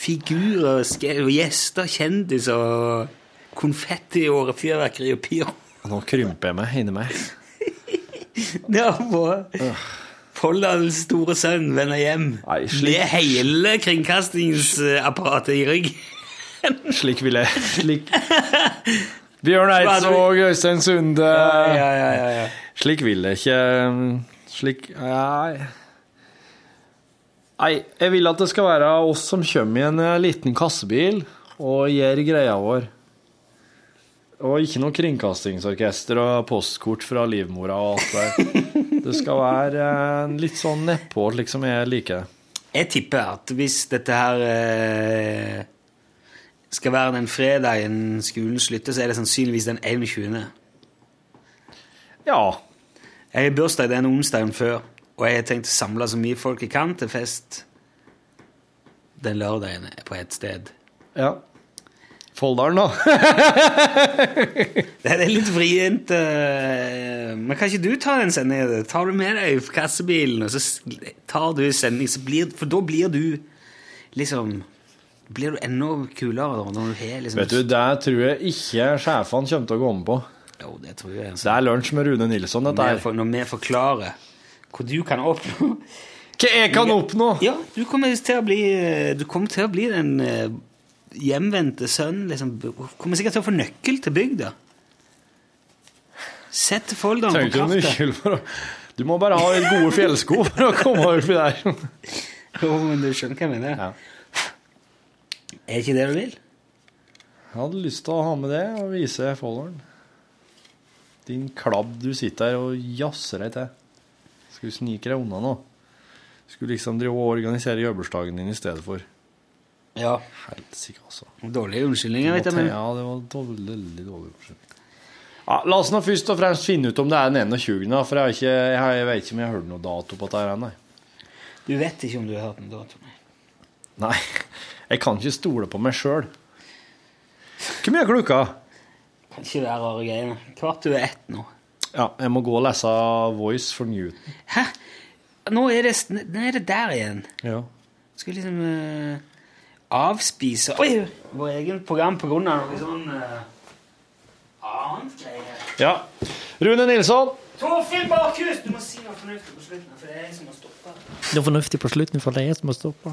B: figurer, ske- og gjester, kjendiser, og konfetti og fyrverkeri og pyro.
D: Nå krymper jeg meg inni meg.
B: Det var på Folldalens store sønn vender hjem
D: Nei, slik-
B: med hele kringkastingsapparatet i rygg.
D: Slik vil jeg slik. Bjørn Eidsvåg, Øystein Sunde
B: ja, ja, ja.
D: Slik vil jeg ikke um, Slik Nei. Nei, jeg vil at det skal være oss som kommer i en eh, liten kassebil og gjør greia vår. Og ikke noe kringkastingsorkester og postkort fra livmora og alt der. Det skal være eh, litt sånn nedpå, slik som jeg liker det.
B: Jeg tipper at hvis dette her eh, skal være den fredagen skolen slutter, så er det sannsynligvis den 21.
D: Ja.
B: Jeg har bursdag den onsdagen før, og jeg har tenkt å samle så mye folk jeg kan til fest den lørdagen på ett sted.
D: ja. Folldalen, da.
B: Det er litt vrient. eh, Men kan ikke du ta den sendingen? Tar du med deg kassebilen, og så s- tar du sending, så blir, for da blir du liksom Blir du enda kulere da, når du har liksom
D: Vet du, det tror jeg ikke sjefene kommer til å gå med på.
B: Jo, det tror jeg. Altså.
D: Det er lunsj med Rune Nilsson, dette
B: Når vi
D: her.
B: for- når vi forklarer hva du kan oppnå
D: Hva jeg kan oppnå?
B: Ja, du kommer til å bli eh, Du kommer til å bli den eh, hjemvendte sønnen. Liksom, Du kommer sikkert til å få nøkkel til bygda. Sett folderen på
D: Trenger ikke
B: kartet.
D: nøkkel for å Du må bare ha litt gode fjellsko for å komme oppi der.
B: Jo, men du skjønner hva jeg mener. Er ikke det du vil?
D: Jeg hadde lyst til å ha med det og vise folderen. Din klabb, du sitter her og jazzer deg til. Skal du snike deg unna nå? Skulle liksom drive og organisere jøbelsdagen din i stedet for.
B: Ja.
D: Helsike, altså.
B: Dårlige unnskyldninger, vet
D: Måtte-
B: jeg. Men
D: Ja, det var dårlig, veldig dårlig oppskjønt. Ja, la oss nå først og fremst finne ut om det er den 21., da, for jeg, har ikke, jeg, har- jeg vet ikke om jeg har hørt noe dato på dette her ennå.
B: du vet ikke om du har hørt den da, Tommy.
D: Nei, jeg kan ikke stole på meg sjøl. Hvor mye er klokka?
B: Kan ikke være rare greiene. Kvart over ett nå.
D: Ja, jeg må gå og lese Voice for Newton.
B: Hæ? Nå er det, sn- nå er det der igjen.
D: Ja.
B: Skal liksom eh, avspise Oi! Vår egen program på grunn av noe sånn eh, annet greie.
D: ja. Rune Nilsson.
B: Torfinn Bakhus! Du må si noe fornuftig på slutten, for det er jeg som må stoppe.
I: Noe fornuftig på slutten, for det er jeg som må stoppe.